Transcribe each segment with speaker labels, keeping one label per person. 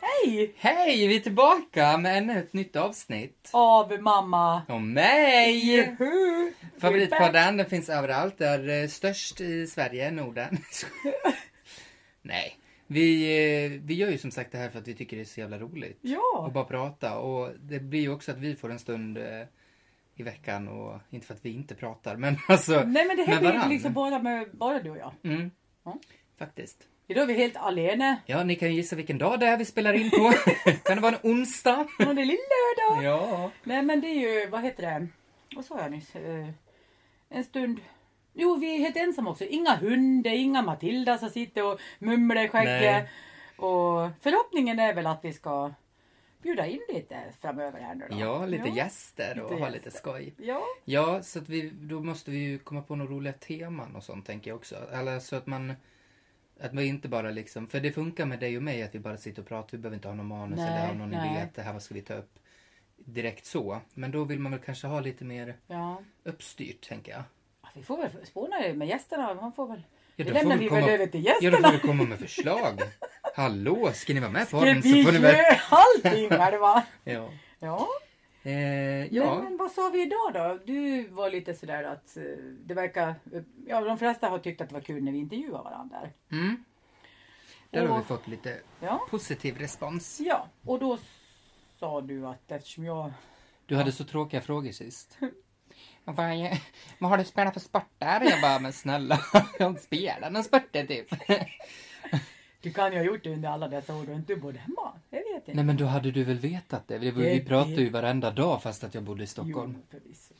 Speaker 1: Hej!
Speaker 2: Hej, vi är tillbaka med ännu ett nytt avsnitt.
Speaker 1: Av mamma.
Speaker 2: Och mig!
Speaker 1: Juhu! We're
Speaker 2: Favoritpodden, den finns överallt. Är eh, störst i Sverige, Norden. Nej, vi, eh, vi gör ju som sagt det här för att vi tycker det är så jävla roligt. Och
Speaker 1: Ja,
Speaker 2: bara prata. Och det blir ju också att vi får en stund eh, i veckan och inte för att vi inte pratar men alltså
Speaker 1: nej men det här
Speaker 2: med
Speaker 1: blir
Speaker 2: varann.
Speaker 1: liksom bara, med, bara du och jag.
Speaker 2: Mm.
Speaker 1: Ja.
Speaker 2: Faktiskt.
Speaker 1: Idag är vi helt alene.
Speaker 2: Ja, ni kan ju gissa vilken dag det är vi spelar in på. kan det vara en onsdag?
Speaker 1: Och det är lördag.
Speaker 2: Ja.
Speaker 1: Nej men det är ju, vad heter det? Vad sa jag nyss? Eh, En stund. Jo, vi är helt ensamma också. Inga hundar, inga Matilda som sitter och mumlar i skägget.
Speaker 2: Nej.
Speaker 1: Och förhoppningen är väl att vi ska bjuda in lite framöver här nu då.
Speaker 2: Ja, lite
Speaker 1: ja.
Speaker 2: gäster och
Speaker 1: Lite
Speaker 2: ha
Speaker 1: gäster.
Speaker 2: lite skoj.
Speaker 1: Ja.
Speaker 2: Ja, så att vi, då måste vi ju komma på några roliga teman och sånt tänker jag också. Eller så att man, att man inte bara liksom, för det funkar med dig och mig att vi bara sitter och pratar, vi behöver inte ha någon manus
Speaker 1: Nej,
Speaker 2: eller ha någon idé
Speaker 1: nej.
Speaker 2: att det här vad ska vi ta upp direkt så. Men då vill man väl kanske ha lite mer
Speaker 1: ja.
Speaker 2: uppstyrt tänker jag.
Speaker 1: Ja, Vi får väl spåna det med gästerna. Man får väl...
Speaker 2: Ja,
Speaker 1: det
Speaker 2: då får
Speaker 1: lämnar
Speaker 2: vi
Speaker 1: vi
Speaker 2: komma-
Speaker 1: väl över till
Speaker 2: Ja, då får
Speaker 1: gästerna.
Speaker 2: du komma med förslag. Hallå, ska ni vara med på
Speaker 1: Ja,
Speaker 2: den
Speaker 1: vi
Speaker 2: så får ni
Speaker 1: gör
Speaker 2: väl...
Speaker 1: allting själva.
Speaker 2: Ja.
Speaker 1: Ja.
Speaker 2: Eh,
Speaker 1: Men,
Speaker 2: ja.
Speaker 1: men vad sa vi idag då? Du var lite sådär att eh, det verkar... Ja, de flesta har tyckt att det var kul när vi intervjuar varandra.
Speaker 2: Mm. Där har vi
Speaker 1: Och-
Speaker 2: fått lite
Speaker 1: Ja.
Speaker 2: positiv respons.
Speaker 1: ja, och då sa du att eftersom jag...
Speaker 2: Du hade så tråkiga frågor sist. Vad, är- vad har du spelat för sportar? Jag bara, men snälla, jag spelar någon sporter typ.
Speaker 1: Du kan ju ha gjort det under alla dessa år du inte bodde hemma. Jag vet inte.
Speaker 2: Nej men då hade du väl vetat det? Vi, vi pratade ju varenda dag fast att jag bodde i Stockholm.
Speaker 1: Jo, förvisso.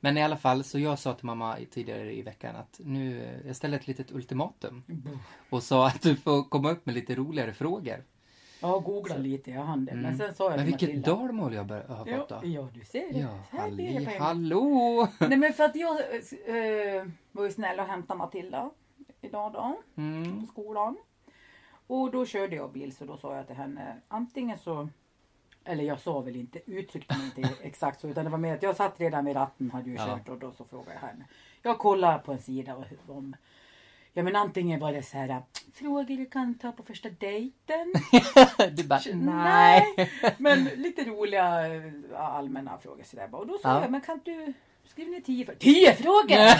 Speaker 2: Men i alla fall, så jag sa till mamma i- tidigare i veckan att nu, eh, jag ställde ett litet ultimatum. Och sa att du får komma upp med lite roligare frågor.
Speaker 1: Jag har googlat lite, jag hann det. Men sen sa jag
Speaker 2: Mm. Men
Speaker 1: till
Speaker 2: vilket
Speaker 1: Matilda-
Speaker 2: dalmål jag bör- har fått
Speaker 1: Ja,
Speaker 2: då?
Speaker 1: ja, du ser. det.
Speaker 2: Ja,
Speaker 1: Så här blir det på
Speaker 2: halli,
Speaker 1: en gång.
Speaker 2: hallå!
Speaker 1: Nej men för att jag eh, var ju snäll och hämtade Matilda idag då
Speaker 2: Mm.
Speaker 1: på skolan. Och då körde jag bil så då sa jag till henne antingen så eller jag sa väl inte, uttryckte mig inte exakt så utan det var mer att jag satt redan vid ratten hade ju
Speaker 2: Ja.
Speaker 1: kört och då så frågade jag henne. Jag kollar på en sida och hur- om Ja men antingen var det så här frågor du kan ta på första dejten.
Speaker 2: Du bara, nej.
Speaker 1: Nej. Men lite roliga eh, allmänna frågor sådär bara. Och då sa
Speaker 2: Ja.
Speaker 1: jag, men kan du skriva ner tio frågor? Tio frågor?
Speaker 2: Nej.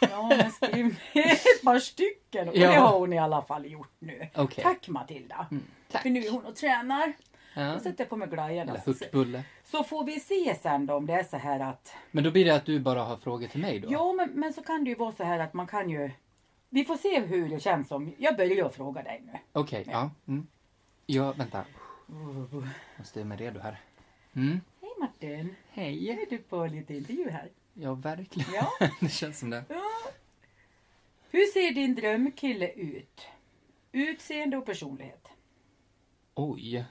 Speaker 1: Ja men skriv ner ett par stycken. Och
Speaker 2: Ja.
Speaker 1: det har hon i alla fall gjort nu.
Speaker 2: Okej. Mm.
Speaker 1: Tack Matilda.
Speaker 2: Tack.
Speaker 1: För nu är hon och tränar.
Speaker 2: Ja.
Speaker 1: Då sätter jag på mig glajjorna.
Speaker 2: Eller hurtbulle.
Speaker 1: Så får vi se sen då om det är så här att.
Speaker 2: Men då blir det att du bara har frågor till mig då?
Speaker 1: Ja men, men så kan det ju vara så här att man kan ju. Vi får se hur det känns om. Jag börjar fråga dig nu.
Speaker 2: Okej, ja. Mm. Ja, vänta.
Speaker 1: Oh.
Speaker 2: Måste jag med redo här. Mm.
Speaker 1: Hej Martin. Nu
Speaker 2: Hej.
Speaker 1: är du på lite intervju här.
Speaker 2: Ja, verkligen.
Speaker 1: Ja.
Speaker 2: det känns som det.
Speaker 1: Hur ser din drömkille ut? Utseende och personlighet.
Speaker 2: Oj.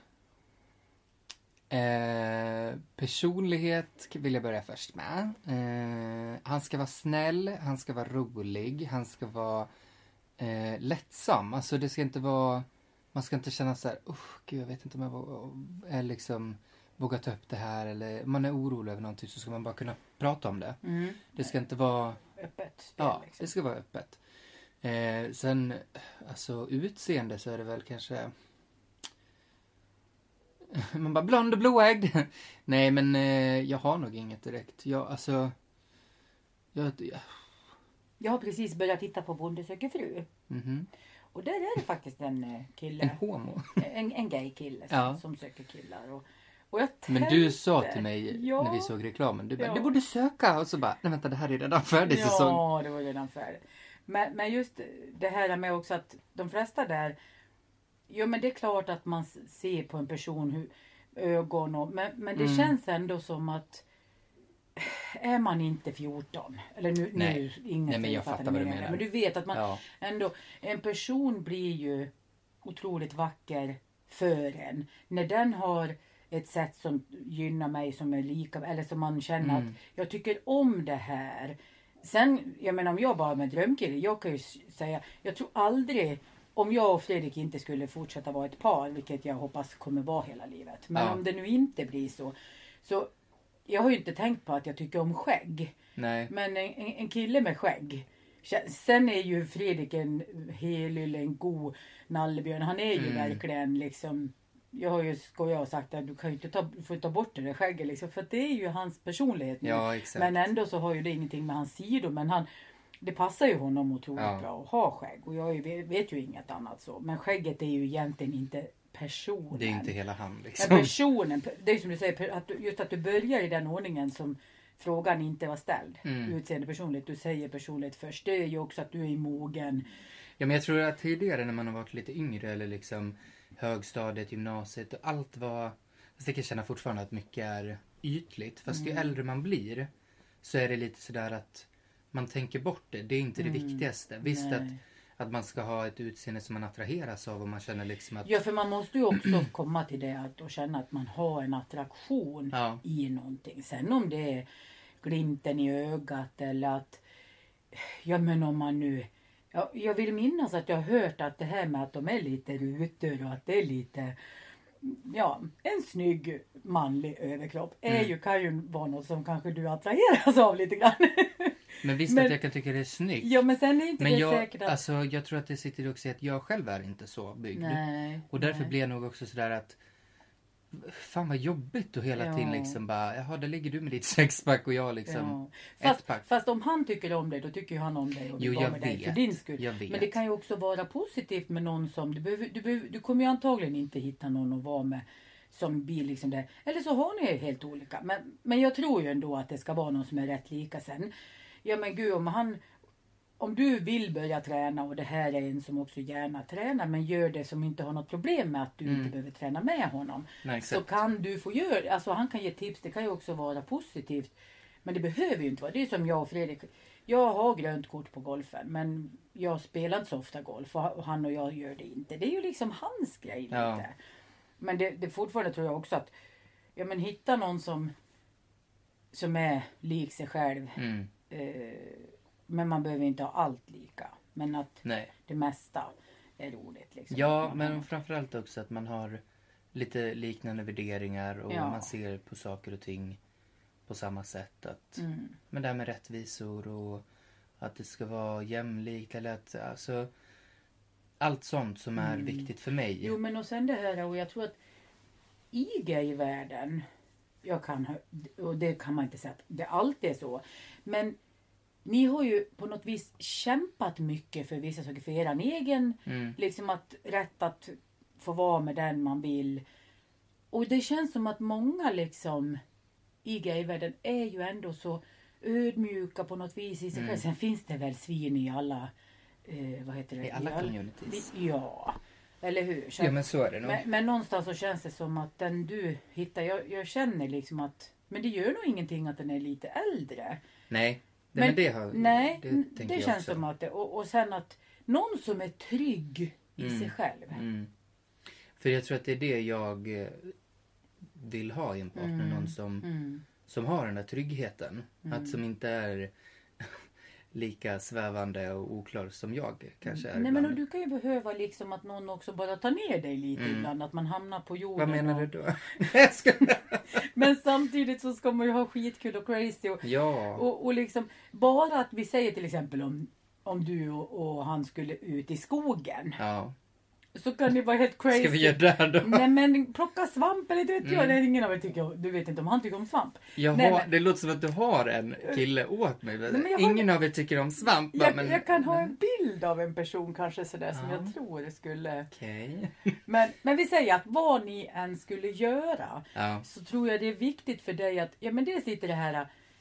Speaker 2: Eh, personlighet vill jag börja först med. Eh, han ska vara snäll, han ska vara rolig, han ska vara eh, lättsam. Alltså det ska inte vara... Man ska inte känna så här, usch, gud jag vet inte om jag vå- är liksom vågar ta upp det här eller man är orolig över någonting så ska man bara kunna prata om det. Det ska inte vara
Speaker 1: Öppet spel
Speaker 2: Mm. Ja,
Speaker 1: liksom.
Speaker 2: det ska vara öppet. Eh, sen, alltså utseende så är det väl kanske... Man bara blond och blåögd. Nej, men eh, jag har nog inget direkt. Jag, alltså... Jag, ja,
Speaker 1: Jag har precis börjat titta på Bonde söker fru.
Speaker 2: mhm.
Speaker 1: Och där är det faktiskt en eh,
Speaker 2: En
Speaker 1: kille.
Speaker 2: homo.
Speaker 1: En, en gay kille som,
Speaker 2: Ja.
Speaker 1: som söker killar. Och, och jag
Speaker 2: Men du
Speaker 1: tänkte-
Speaker 2: sa till mig
Speaker 1: Ja.
Speaker 2: när vi såg reklamen, du bara,
Speaker 1: Ja.
Speaker 2: du borde söka. Och så bara, nej vänta det här är redan färdig
Speaker 1: ja,
Speaker 2: säsong.
Speaker 1: det var redan färdigt. Men, men just det här med också att de flesta där. Jo men det är klart att man s- ser på en person hur ögon och men, men
Speaker 2: Mm.
Speaker 1: det känns ändå som att är man inte 14 eller nu,
Speaker 2: Nej.
Speaker 1: nu ingen
Speaker 2: Nej, men
Speaker 1: som
Speaker 2: jag fattar
Speaker 1: det
Speaker 2: vad du
Speaker 1: mer än det,
Speaker 2: menar.
Speaker 1: Men du vet att man
Speaker 2: Ja.
Speaker 1: ändå en person blir ju otroligt vacker för en när den har ett sätt som gynnar mig som är lika eller som man känner att jag tycker om det här. Sen, jag menar om jag bara med drömkille, jag kan ju s- säga, jag tror aldrig om jag och Fredrik inte skulle fortsätta vara ett par, vilket jag hoppas kommer vara hela livet. Men
Speaker 2: Ja.
Speaker 1: om det nu inte blir så. Så jag har ju inte tänkt på att jag tycker om skägg.
Speaker 2: Nej.
Speaker 1: Men en, en, en kille med skägg. Kä- Sen är ju
Speaker 2: Mm.
Speaker 1: Fredrik en helylle, en god nallebjörn. Han är ju verkligen liksom jag har ju skojat och sagt att du kan ju inte ta, du får ta bort det där skägget liksom, för att det är ju hans personlighet nu.
Speaker 2: Ja, exakt.
Speaker 1: Men ändå så har ju det ingenting med hans sidor. Men han, det passar ju honom otroligt
Speaker 2: Ja.
Speaker 1: bra att ha skägg. Och jag är ju- vet ju inget annat så. Men skägget är ju egentligen inte personen.
Speaker 2: Det är ju inte hela han liksom.
Speaker 1: Men personen, det är som du säger, per- att du- just att du börjar i den ordningen som frågan inte var ställd.
Speaker 2: Mm.
Speaker 1: Utseende personligt, du säger personligt först. Det är ju också att du är mogen.
Speaker 2: Ja, men jag tror att tidigare när man har varit lite yngre eller liksom högstadiet, gymnasiet och allt var... Fast jag kan känna fortfarande att mycket är ytligt. Fast
Speaker 1: Mm.
Speaker 2: ju äldre man blir så är det lite sådär att man tänker bort det. Det är inte det viktigaste. Visst
Speaker 1: Mm. Nej.
Speaker 2: att, att man ska ha ett utseende som man attraheras av och man känner liksom att...
Speaker 1: Ja, för man måste ju också komma till det att, och känna att man har en attraktion
Speaker 2: Ja.
Speaker 1: i någonting. Sen om det är glimten i ögat eller att, ja men om man nu, ja, jag vill minnas att jag har hört att det här med att de är lite rutor och att det är lite, ja, en snygg manlig överkropp
Speaker 2: Mm.
Speaker 1: är ju, kan ju vara något som kanske du attraheras av lite grann.
Speaker 2: Men visst
Speaker 1: Men-
Speaker 2: att jag kan tycka det är snyggt.
Speaker 1: ja, men sen är inte
Speaker 2: men
Speaker 1: det
Speaker 2: jag,
Speaker 1: säkert att...
Speaker 2: alltså, jag tror att det sitter också i att jag själv är inte så byggd.
Speaker 1: nej.
Speaker 2: Och därför
Speaker 1: nej.
Speaker 2: blir jag nog också sådär att Fan vad jobbigt och hela
Speaker 1: Ja.
Speaker 2: tiden liksom bara Jaha där ligger du med ditt sexpack och jag liksom
Speaker 1: Ja.
Speaker 2: ett
Speaker 1: Fast,
Speaker 2: pack.
Speaker 1: fast om han tycker om dig, då tycker ju han om dig och vill
Speaker 2: Jo,
Speaker 1: vara
Speaker 2: jag
Speaker 1: med dig för
Speaker 2: vet.
Speaker 1: din skull.
Speaker 2: Jag vet.
Speaker 1: Men det kan ju också vara positivt med någon som... Du, behöver, du, behöver, du kommer ju antagligen inte hitta någon att vara med som blir liksom det. Eller så har ni er helt olika. Men, men jag tror ju ändå att det ska vara någon som är rätt lika sen. Ja men gud, om han... Om du vill börja träna och det här är en som också gärna tränar men gör det som inte har något problem med att du inte behöver träna med honom.
Speaker 2: Nej,
Speaker 1: så
Speaker 2: exakt.
Speaker 1: kan du få göra Alltså han kan ge tips, det kan ju också vara positivt. Men det behöver ju inte vara. Det är som jag och Fredrik. Jag har grönt kort på golfen men jag spelar inte så ofta golf och och han och jag gör det inte. Det är ju liksom hans grej lite.
Speaker 2: Ja.
Speaker 1: Men det, det fortfarande tror jag också att ja, men hitta någon som, som är lik sig själv.
Speaker 2: Mm,
Speaker 1: Eh, men man behöver inte ha allt lika. Men att
Speaker 2: nej.
Speaker 1: det mesta är roligt. Liksom.
Speaker 2: Ja men framförallt också att man har lite liknande värderingar och
Speaker 1: Ja.
Speaker 2: man ser på saker och ting på samma sätt. Att,
Speaker 1: Mm.
Speaker 2: Men det här med rättvisor och att det ska vara jämlikt eller att alltså allt sånt som är viktigt för mig.
Speaker 1: Mm. Jo men och sen det här och jag tror att i gayvärlden, jag kan ha, och det kan man inte säga att det alltid är så, men ni har ju på något vis kämpat mycket för vissa saker, för er egen
Speaker 2: Mm.
Speaker 1: liksom att rätt att få vara med den man vill. Och det känns som att många liksom i gayvärlden är ju ändå så ödmjuka på något vis i sig
Speaker 2: Mm.
Speaker 1: själv. Sen finns det väl svin i alla, eh, vad heter det?
Speaker 2: I alla communities.
Speaker 1: Ja, eller hur? Så
Speaker 2: Ja
Speaker 1: att-
Speaker 2: men så är det nog.
Speaker 1: men, men någonstans så känns det som att den du hittar, jag, jag känner liksom att men det gör nog ingenting att den är lite äldre.
Speaker 2: Nej. Det,
Speaker 1: Men-
Speaker 2: men, det har
Speaker 1: Nej,
Speaker 2: det,
Speaker 1: n- det,
Speaker 2: tänker jag
Speaker 1: känns
Speaker 2: också.
Speaker 1: som att det, och, och sen att någon som är trygg i sig själv.
Speaker 2: Mm. För jag tror att det är det jag eh, vill ha i en partner. Någon som,
Speaker 1: Mm.
Speaker 2: som har den där tryggheten. Att som inte är lika svävande och oklar som jag kanske är.
Speaker 1: Nej men och
Speaker 2: ibland.
Speaker 1: du kan ju behöva liksom att någon också bara tar ner dig lite ibland, att man hamnar på jorden.
Speaker 2: Mm. Vad menar
Speaker 1: och,
Speaker 2: du då? Nej, jag skojar.
Speaker 1: Men samtidigt så ska man ju ha skitkul och crazy och,
Speaker 2: ja.
Speaker 1: Och, och liksom, bara att vi säger till exempel om, om du och, och han skulle ut i skogen.
Speaker 2: ja.
Speaker 1: Så kan det vara helt crazy.
Speaker 2: Ska vi göra det Mm. här då?
Speaker 1: Nej men plocka svamp eller det vet jag. Det är ingen av er tycker, du vet inte om han tycker om svamp.
Speaker 2: Jag
Speaker 1: Nej,
Speaker 2: har,
Speaker 1: men-
Speaker 2: Det låter som att du har en kille åt mig.
Speaker 1: men jag har-
Speaker 2: Ingen av er tycker om svamp. va?
Speaker 1: Jag,
Speaker 2: men...
Speaker 1: jag kan ha en bild av en person kanske sådär som
Speaker 2: Ja.
Speaker 1: jag tror skulle...
Speaker 2: Okej.
Speaker 1: Men, men vi säger att vad ni än skulle göra
Speaker 2: Ja.
Speaker 1: så tror jag det är viktigt för dig att, ja men det sitter det här,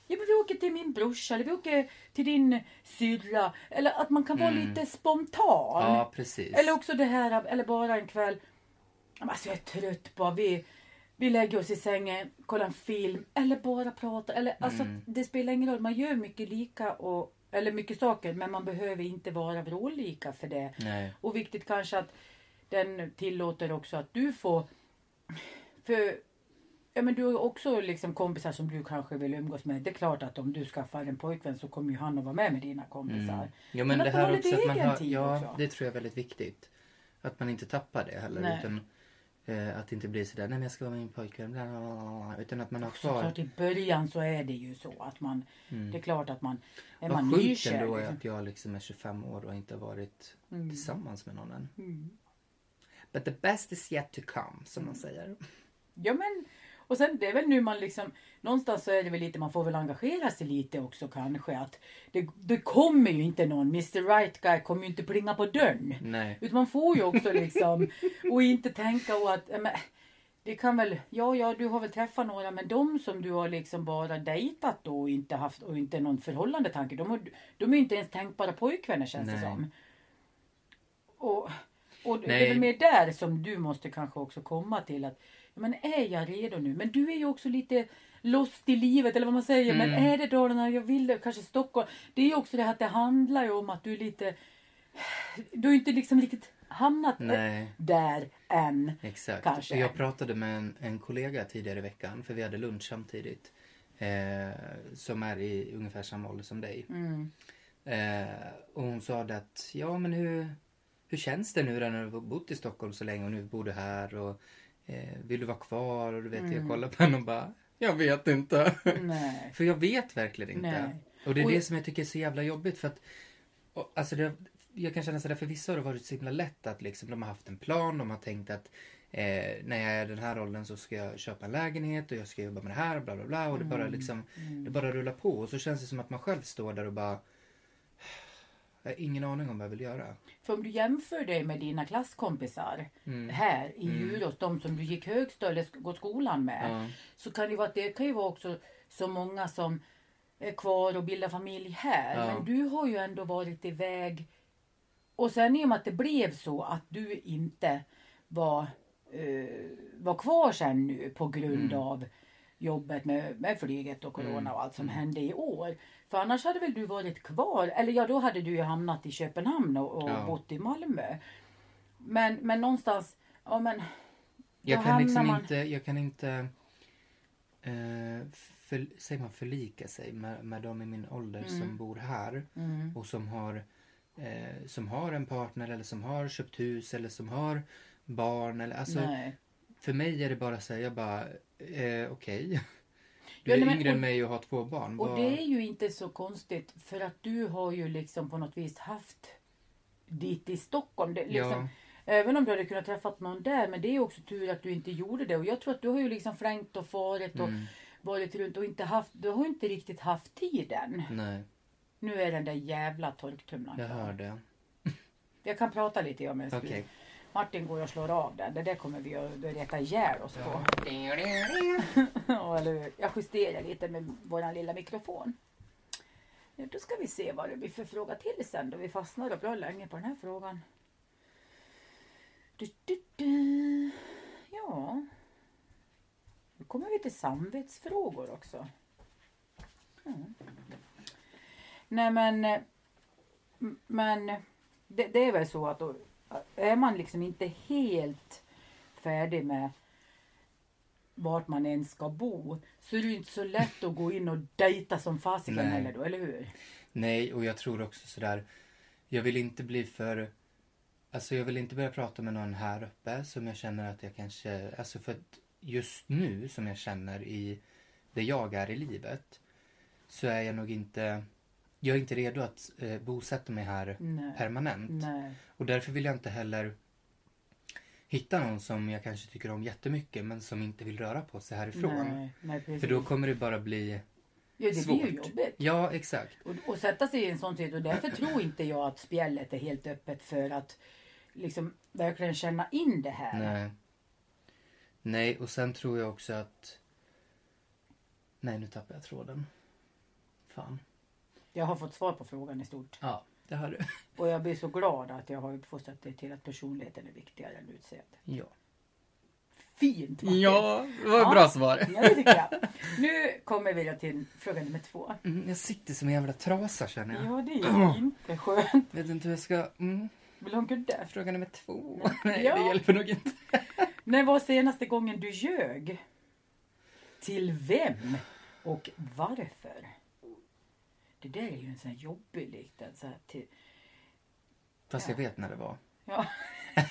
Speaker 1: ja men vi åker till min brorsa eller vi åker till din syrra. Eller att man kan vara
Speaker 2: Mm.
Speaker 1: lite spontan.
Speaker 2: ja, precis.
Speaker 1: Eller också det här, eller bara en kväll. Alltså jag är trött bara. Vi, vi lägger oss i sängen, kollar en film eller bara pratar. Eller, alltså,
Speaker 2: Mm.
Speaker 1: det spelar ingen roll, man gör mycket lika och, eller mycket saker men man behöver inte vara vrålika för det.
Speaker 2: Nej.
Speaker 1: Och viktigt kanske att den tillåter också att du får... För ja, men du har ju också liksom kompisar som du kanske vill umgås med. Det är klart att om du skaffar en pojkvän så kommer ju han att vara med med dina kompisar.
Speaker 2: Mm. Ja,
Speaker 1: Men
Speaker 2: men,
Speaker 1: att
Speaker 2: det
Speaker 1: man
Speaker 2: här
Speaker 1: har lite
Speaker 2: också att man
Speaker 1: egen
Speaker 2: har,
Speaker 1: tid
Speaker 2: ja,
Speaker 1: också.
Speaker 2: det tror jag är väldigt viktigt. Att man inte tappar det heller.
Speaker 1: Nej.
Speaker 2: Utan, eh, att det inte blir sådär, nej men jag ska vara med min pojkvän. Bla, bla, bla, bla, utan att man har kvar.
Speaker 1: Såklart i början så är det ju så att man, det är klart att man, är man
Speaker 2: Mm. Vad sjukt
Speaker 1: nykär.
Speaker 2: ändå är
Speaker 1: liksom. Mm.
Speaker 2: att jag liksom är 25 år och inte har varit tillsammans med någon än. But the best is yet to come, som
Speaker 1: Mm.
Speaker 2: man säger.
Speaker 1: Ja men, och sen det är väl nu man liksom, någonstans så är det väl lite, man får väl engagera sig lite också kanske att det, det kommer ju inte någon, Mr Right Guy kommer ju inte plinga på dörren.
Speaker 2: Nej.
Speaker 1: Utan man får ju också liksom, och inte tänka och att, ja, men, det kan väl, ja ja du har väl träffat några men de som du har liksom bara dejtat då och inte haft och inte någon förhållande tanke, de, har, de är ju inte ens tänkbara pojkvänner känns det
Speaker 2: Nej.
Speaker 1: som. Och, och det
Speaker 2: Nej.
Speaker 1: är väl mer där som du måste kanske också komma till att, ja, men är jag redo nu? Men du är ju också lite lost i livet eller vad man säger, men
Speaker 2: Mm.
Speaker 1: är det Dalarna jag vill, kanske Stockholm? Det är ju också det här att det handlar ju om att du är lite, du har ju inte liksom riktigt hamnat
Speaker 2: Nej.
Speaker 1: där än.
Speaker 2: Exakt.
Speaker 1: Kanske.
Speaker 2: Och Jag pratade med en, en kollega tidigare i veckan, för vi hade lunch samtidigt. Eh, som är i ungefär samma ålder som dig.
Speaker 1: Mm.
Speaker 2: Eh, och hon sa det att, ja men hur, hur känns det nu då när du har bott i Stockholm så länge och nu bor du här och eh, vill du vara kvar? Och du vet, jag kollar på henne och bara, jag vet inte.
Speaker 1: Nej.
Speaker 2: För jag vet verkligen inte.
Speaker 1: Nej.
Speaker 2: Och det är
Speaker 1: Och-
Speaker 2: det som jag tycker är så jävla jobbigt för att och, alltså det, jag kan känna sådär för vissa har det varit så himla lätt att liksom de har haft en plan, de har tänkt att eh, när jag är den här åldern så ska jag köpa en lägenhet och jag ska jobba med det här och bla bla bla och det
Speaker 1: Mm.
Speaker 2: bara liksom det bara rullar på och så känns det som att man själv står där och bara jag har ingen aning om vad jag vill göra.
Speaker 1: För om du jämför dig med dina klasskompisar
Speaker 2: Mm.
Speaker 1: här i
Speaker 2: Mm.
Speaker 1: Djurås, de som du gick högstadiet eller sk- gått skolan med.
Speaker 2: Ja.
Speaker 1: Så kan det, vara, att det kan ju vara också så många som är kvar och bildar familj här.
Speaker 2: Ja.
Speaker 1: Men du har ju ändå varit iväg. Och sen i och med att det blev så att du inte var, eh, var kvar sen nu på
Speaker 2: Mm.
Speaker 1: grund av jobbet med, med flyget och corona och allt som
Speaker 2: Mm.
Speaker 1: hände i år. För annars hade väl du varit kvar, eller ja då hade du ju hamnat i Köpenhamn och, och
Speaker 2: Ja.
Speaker 1: bott i Malmö. Men, men någonstans, ja men
Speaker 2: Jag
Speaker 1: Då
Speaker 2: kan
Speaker 1: hamnar
Speaker 2: liksom
Speaker 1: man-
Speaker 2: inte, jag kan inte eh, för, säger man förlika sig med, med de i min ålder som bor här
Speaker 1: Mm.
Speaker 2: och som har, eh, som har en partner eller som har köpt hus eller som har barn. Eller, alltså,
Speaker 1: nej.
Speaker 2: för mig är det bara så här, jag bara, eh, okej. Du
Speaker 1: Ja,
Speaker 2: är
Speaker 1: nej, men-
Speaker 2: yngre än
Speaker 1: och-
Speaker 2: mig och har två barn.
Speaker 1: Och
Speaker 2: Vad-
Speaker 1: det är ju inte så konstigt för att du har ju liksom på något vis haft dit i Stockholm. Det, liksom,
Speaker 2: Ja.
Speaker 1: Även om du hade kunnat träffat någon där men det är ju också tur att du inte gjorde det. Och jag tror att du har ju liksom flängt och farit och
Speaker 2: Mm.
Speaker 1: varit runt och inte haft, du har ju inte riktigt haft tiden.
Speaker 2: Nej,
Speaker 1: Nu är den där jävla torktumlaren
Speaker 2: jag
Speaker 1: klar.
Speaker 2: hörde.
Speaker 1: Jag kan prata lite om det.
Speaker 2: Okej.
Speaker 1: Martin går och slår av den. Det där kommer vi att reta ihjäl oss på. Ja, eller hur? Jag justerar lite med vår lilla mikrofon. Nu, Då ska vi se vad det blir för fråga till sen då. Vi fastnade bra länge på den här frågan. Du, du, du. Ja. Nu kommer vi till samvetsfrågor också. Mm. Nej men. eh, m- Men det, det är väl så att då, är man liksom inte helt färdig med vart man än ska bo så är det ju inte så lätt att gå in och dejta som fasiken
Speaker 2: Nej.
Speaker 1: heller då, eller hur?
Speaker 2: Nej, och jag tror också sådär, jag vill inte bli för, alltså jag vill inte börja prata med någon här uppe som jag känner att jag kanske, alltså för att just nu som jag känner i det jag är i livet så är jag nog inte, jag är inte redo att eh, bosätta mig här
Speaker 1: Nej.
Speaker 2: permanent.
Speaker 1: Nej.
Speaker 2: Och därför vill jag inte heller hitta någon som jag kanske tycker om jättemycket men som inte vill röra på sig härifrån.
Speaker 1: Nej, nej precis.
Speaker 2: För då kommer det bara bli
Speaker 1: ja, det blir ju
Speaker 2: svårt.
Speaker 1: jobbigt.
Speaker 2: Ja, exakt.
Speaker 1: Och, och sätta sig i en sån situation. Och därför tror inte jag att spjället är helt öppet för att liksom verkligen känna in det här.
Speaker 2: Nej. Nej, och sen tror jag också att... Nej, nu tappar jag tråden. Fan.
Speaker 1: Jag har fått svar på frågan i stort.
Speaker 2: Ja, det har du.
Speaker 1: Och jag blir så glad att jag har uppfostrat dig till att personligheten är viktigare än utseendet.
Speaker 2: Ja.
Speaker 1: Fint Martin!
Speaker 2: Ja, det var ett
Speaker 1: Ja.
Speaker 2: bra svar.
Speaker 1: Ja, det tycker jag. Nu kommer vi då till fråga nummer två.
Speaker 2: Mm, jag sitter som en jävla trasa känner jag.
Speaker 1: Ja, det är ju inte skönt.
Speaker 2: Vet inte hur jag ska... Mm,
Speaker 1: Vill du ha en kudde?
Speaker 2: fråga nummer två. Nej,
Speaker 1: Ja.
Speaker 2: det hjälper nog inte.
Speaker 1: När var senaste gången du ljög? Till vem? Och varför? Det där är ju en sån här jobbig liten så här till...
Speaker 2: Fast jag vet när det var.
Speaker 1: Ja.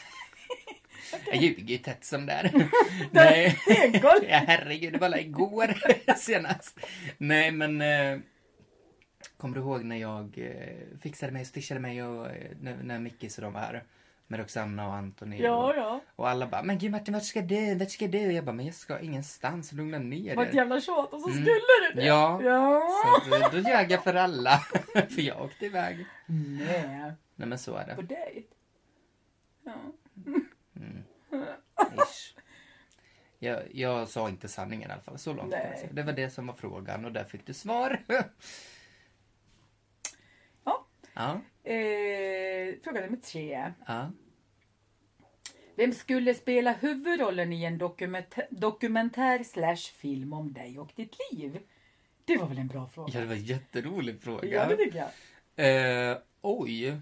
Speaker 2: Jag ljuger ju tätt som där. Nej.
Speaker 1: Det är en golv.
Speaker 2: Ja, herregud, det var alla igår senast. Nej, men... Eh, kommer du ihåg när jag eh, fixade mig och stitchade mig och, eh, när, när Mickis och de var här? med Roxanna och Anthony.
Speaker 1: Ja,
Speaker 2: och,
Speaker 1: ja.
Speaker 2: och alla bara, men gud Martin vart ska du? Vart ska du? Och jag bara, men jag ska ingenstans. Lugna ner
Speaker 1: Vad ett
Speaker 2: er.
Speaker 1: jävla tjat och så
Speaker 2: Mm.
Speaker 1: skulle du det.
Speaker 2: Ja. Så
Speaker 1: ja.
Speaker 2: att, eh, då ljög jag för alla. för jag åkte iväg.
Speaker 1: Nej,
Speaker 2: Nej men så är
Speaker 1: på
Speaker 2: det.
Speaker 1: dejt. Ja.
Speaker 2: Ish. Jag, jag sa inte sanningen i alla fall. Så långt kan jag
Speaker 1: Nej.
Speaker 2: säga. Det var det som var frågan och där fick du svar.
Speaker 1: Ja.
Speaker 2: ja.
Speaker 1: Eh, fråga nummer tre.
Speaker 2: Ja.
Speaker 1: Vem skulle spela huvudrollen i en dokumentär, dokumentär slash film om dig och ditt liv? Det var väl en bra fråga?
Speaker 2: Ja, det var en jätterolig fråga.
Speaker 1: Ja, det tycker jag.
Speaker 2: Eh, oj.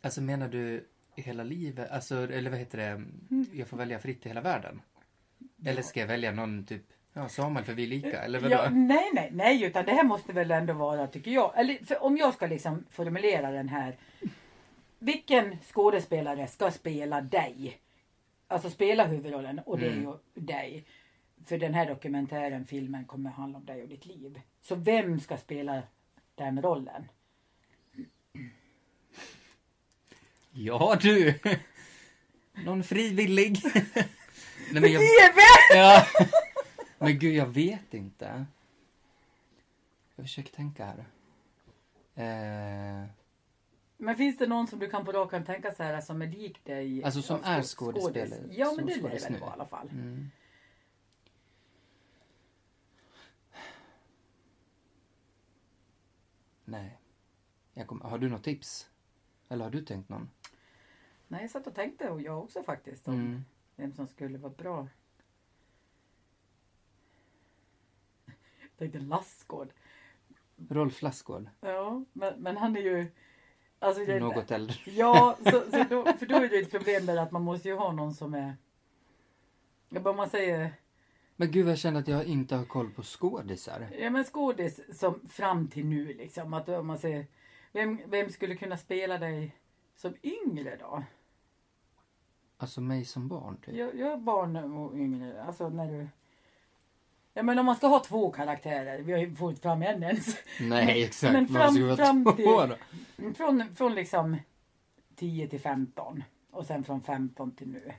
Speaker 2: Alltså menar du hela livet? Alltså, eller vad heter det?
Speaker 1: Mm.
Speaker 2: Jag får välja fritt i hela världen? Eller ska jag välja någon typ, ja Samuel för vi är lika, eller vadå?
Speaker 1: Ja, nej, nej, nej, utan det här måste väl ändå vara, tycker jag. Eller för om jag ska liksom formulera den här. Vilken skådespelare ska spela dig? Alltså spela huvudrollen och det
Speaker 2: Mm.
Speaker 1: är ju dig. För den här dokumentären, filmen kommer handla om dig och ditt liv. Så vem ska spela den rollen?
Speaker 2: Ja du! Någon frivillig? Nej men jag...
Speaker 1: TV!
Speaker 2: Ja. Men gud, jag vet inte. Jag försöker tänka här. Eh,
Speaker 1: Men finns det någon som du kan på rak arm tänka så här som är lik dig?
Speaker 2: Alltså, som
Speaker 1: Ja,
Speaker 2: är
Speaker 1: skå-
Speaker 2: skådespelare.
Speaker 1: skådis. Ja men det lär
Speaker 2: Skådis
Speaker 1: väl
Speaker 2: nu.
Speaker 1: vara i alla fall.
Speaker 2: mm. Nej. Jag kommer- har du något tips? Eller har du tänkt någon?
Speaker 1: Nej jag satt och tänkte och jag också faktiskt. Om
Speaker 2: Mm.
Speaker 1: Vem som skulle vara bra. Jag tänkte Lassgård.
Speaker 2: Rolf Lassgård.
Speaker 1: Ja men, men han är ju. Alltså, jag-
Speaker 2: Något äldre.
Speaker 1: Ja, så, så då, för då är det ju ett problem där att man måste ju ha någon som är. Jag bara om man säger.
Speaker 2: Men gud, jag känner att jag inte har koll på skådisar.
Speaker 1: Ja men skådis som fram till nu liksom. Att om man säger, vem, vem skulle kunna spela dig som yngre då?
Speaker 2: Alltså mig som barn, typ.
Speaker 1: Jag, jag är barn och yngre. Alltså när du... Ja men om man ska ha två karaktärer. Vi har ju fått fram en ens.
Speaker 2: Nej, exakt.
Speaker 1: men
Speaker 2: Man
Speaker 1: fram-
Speaker 2: skulle vara
Speaker 1: fram
Speaker 2: två
Speaker 1: till-
Speaker 2: då.
Speaker 1: Från, från liksom 10 till 15. Och sen från 15 till nu.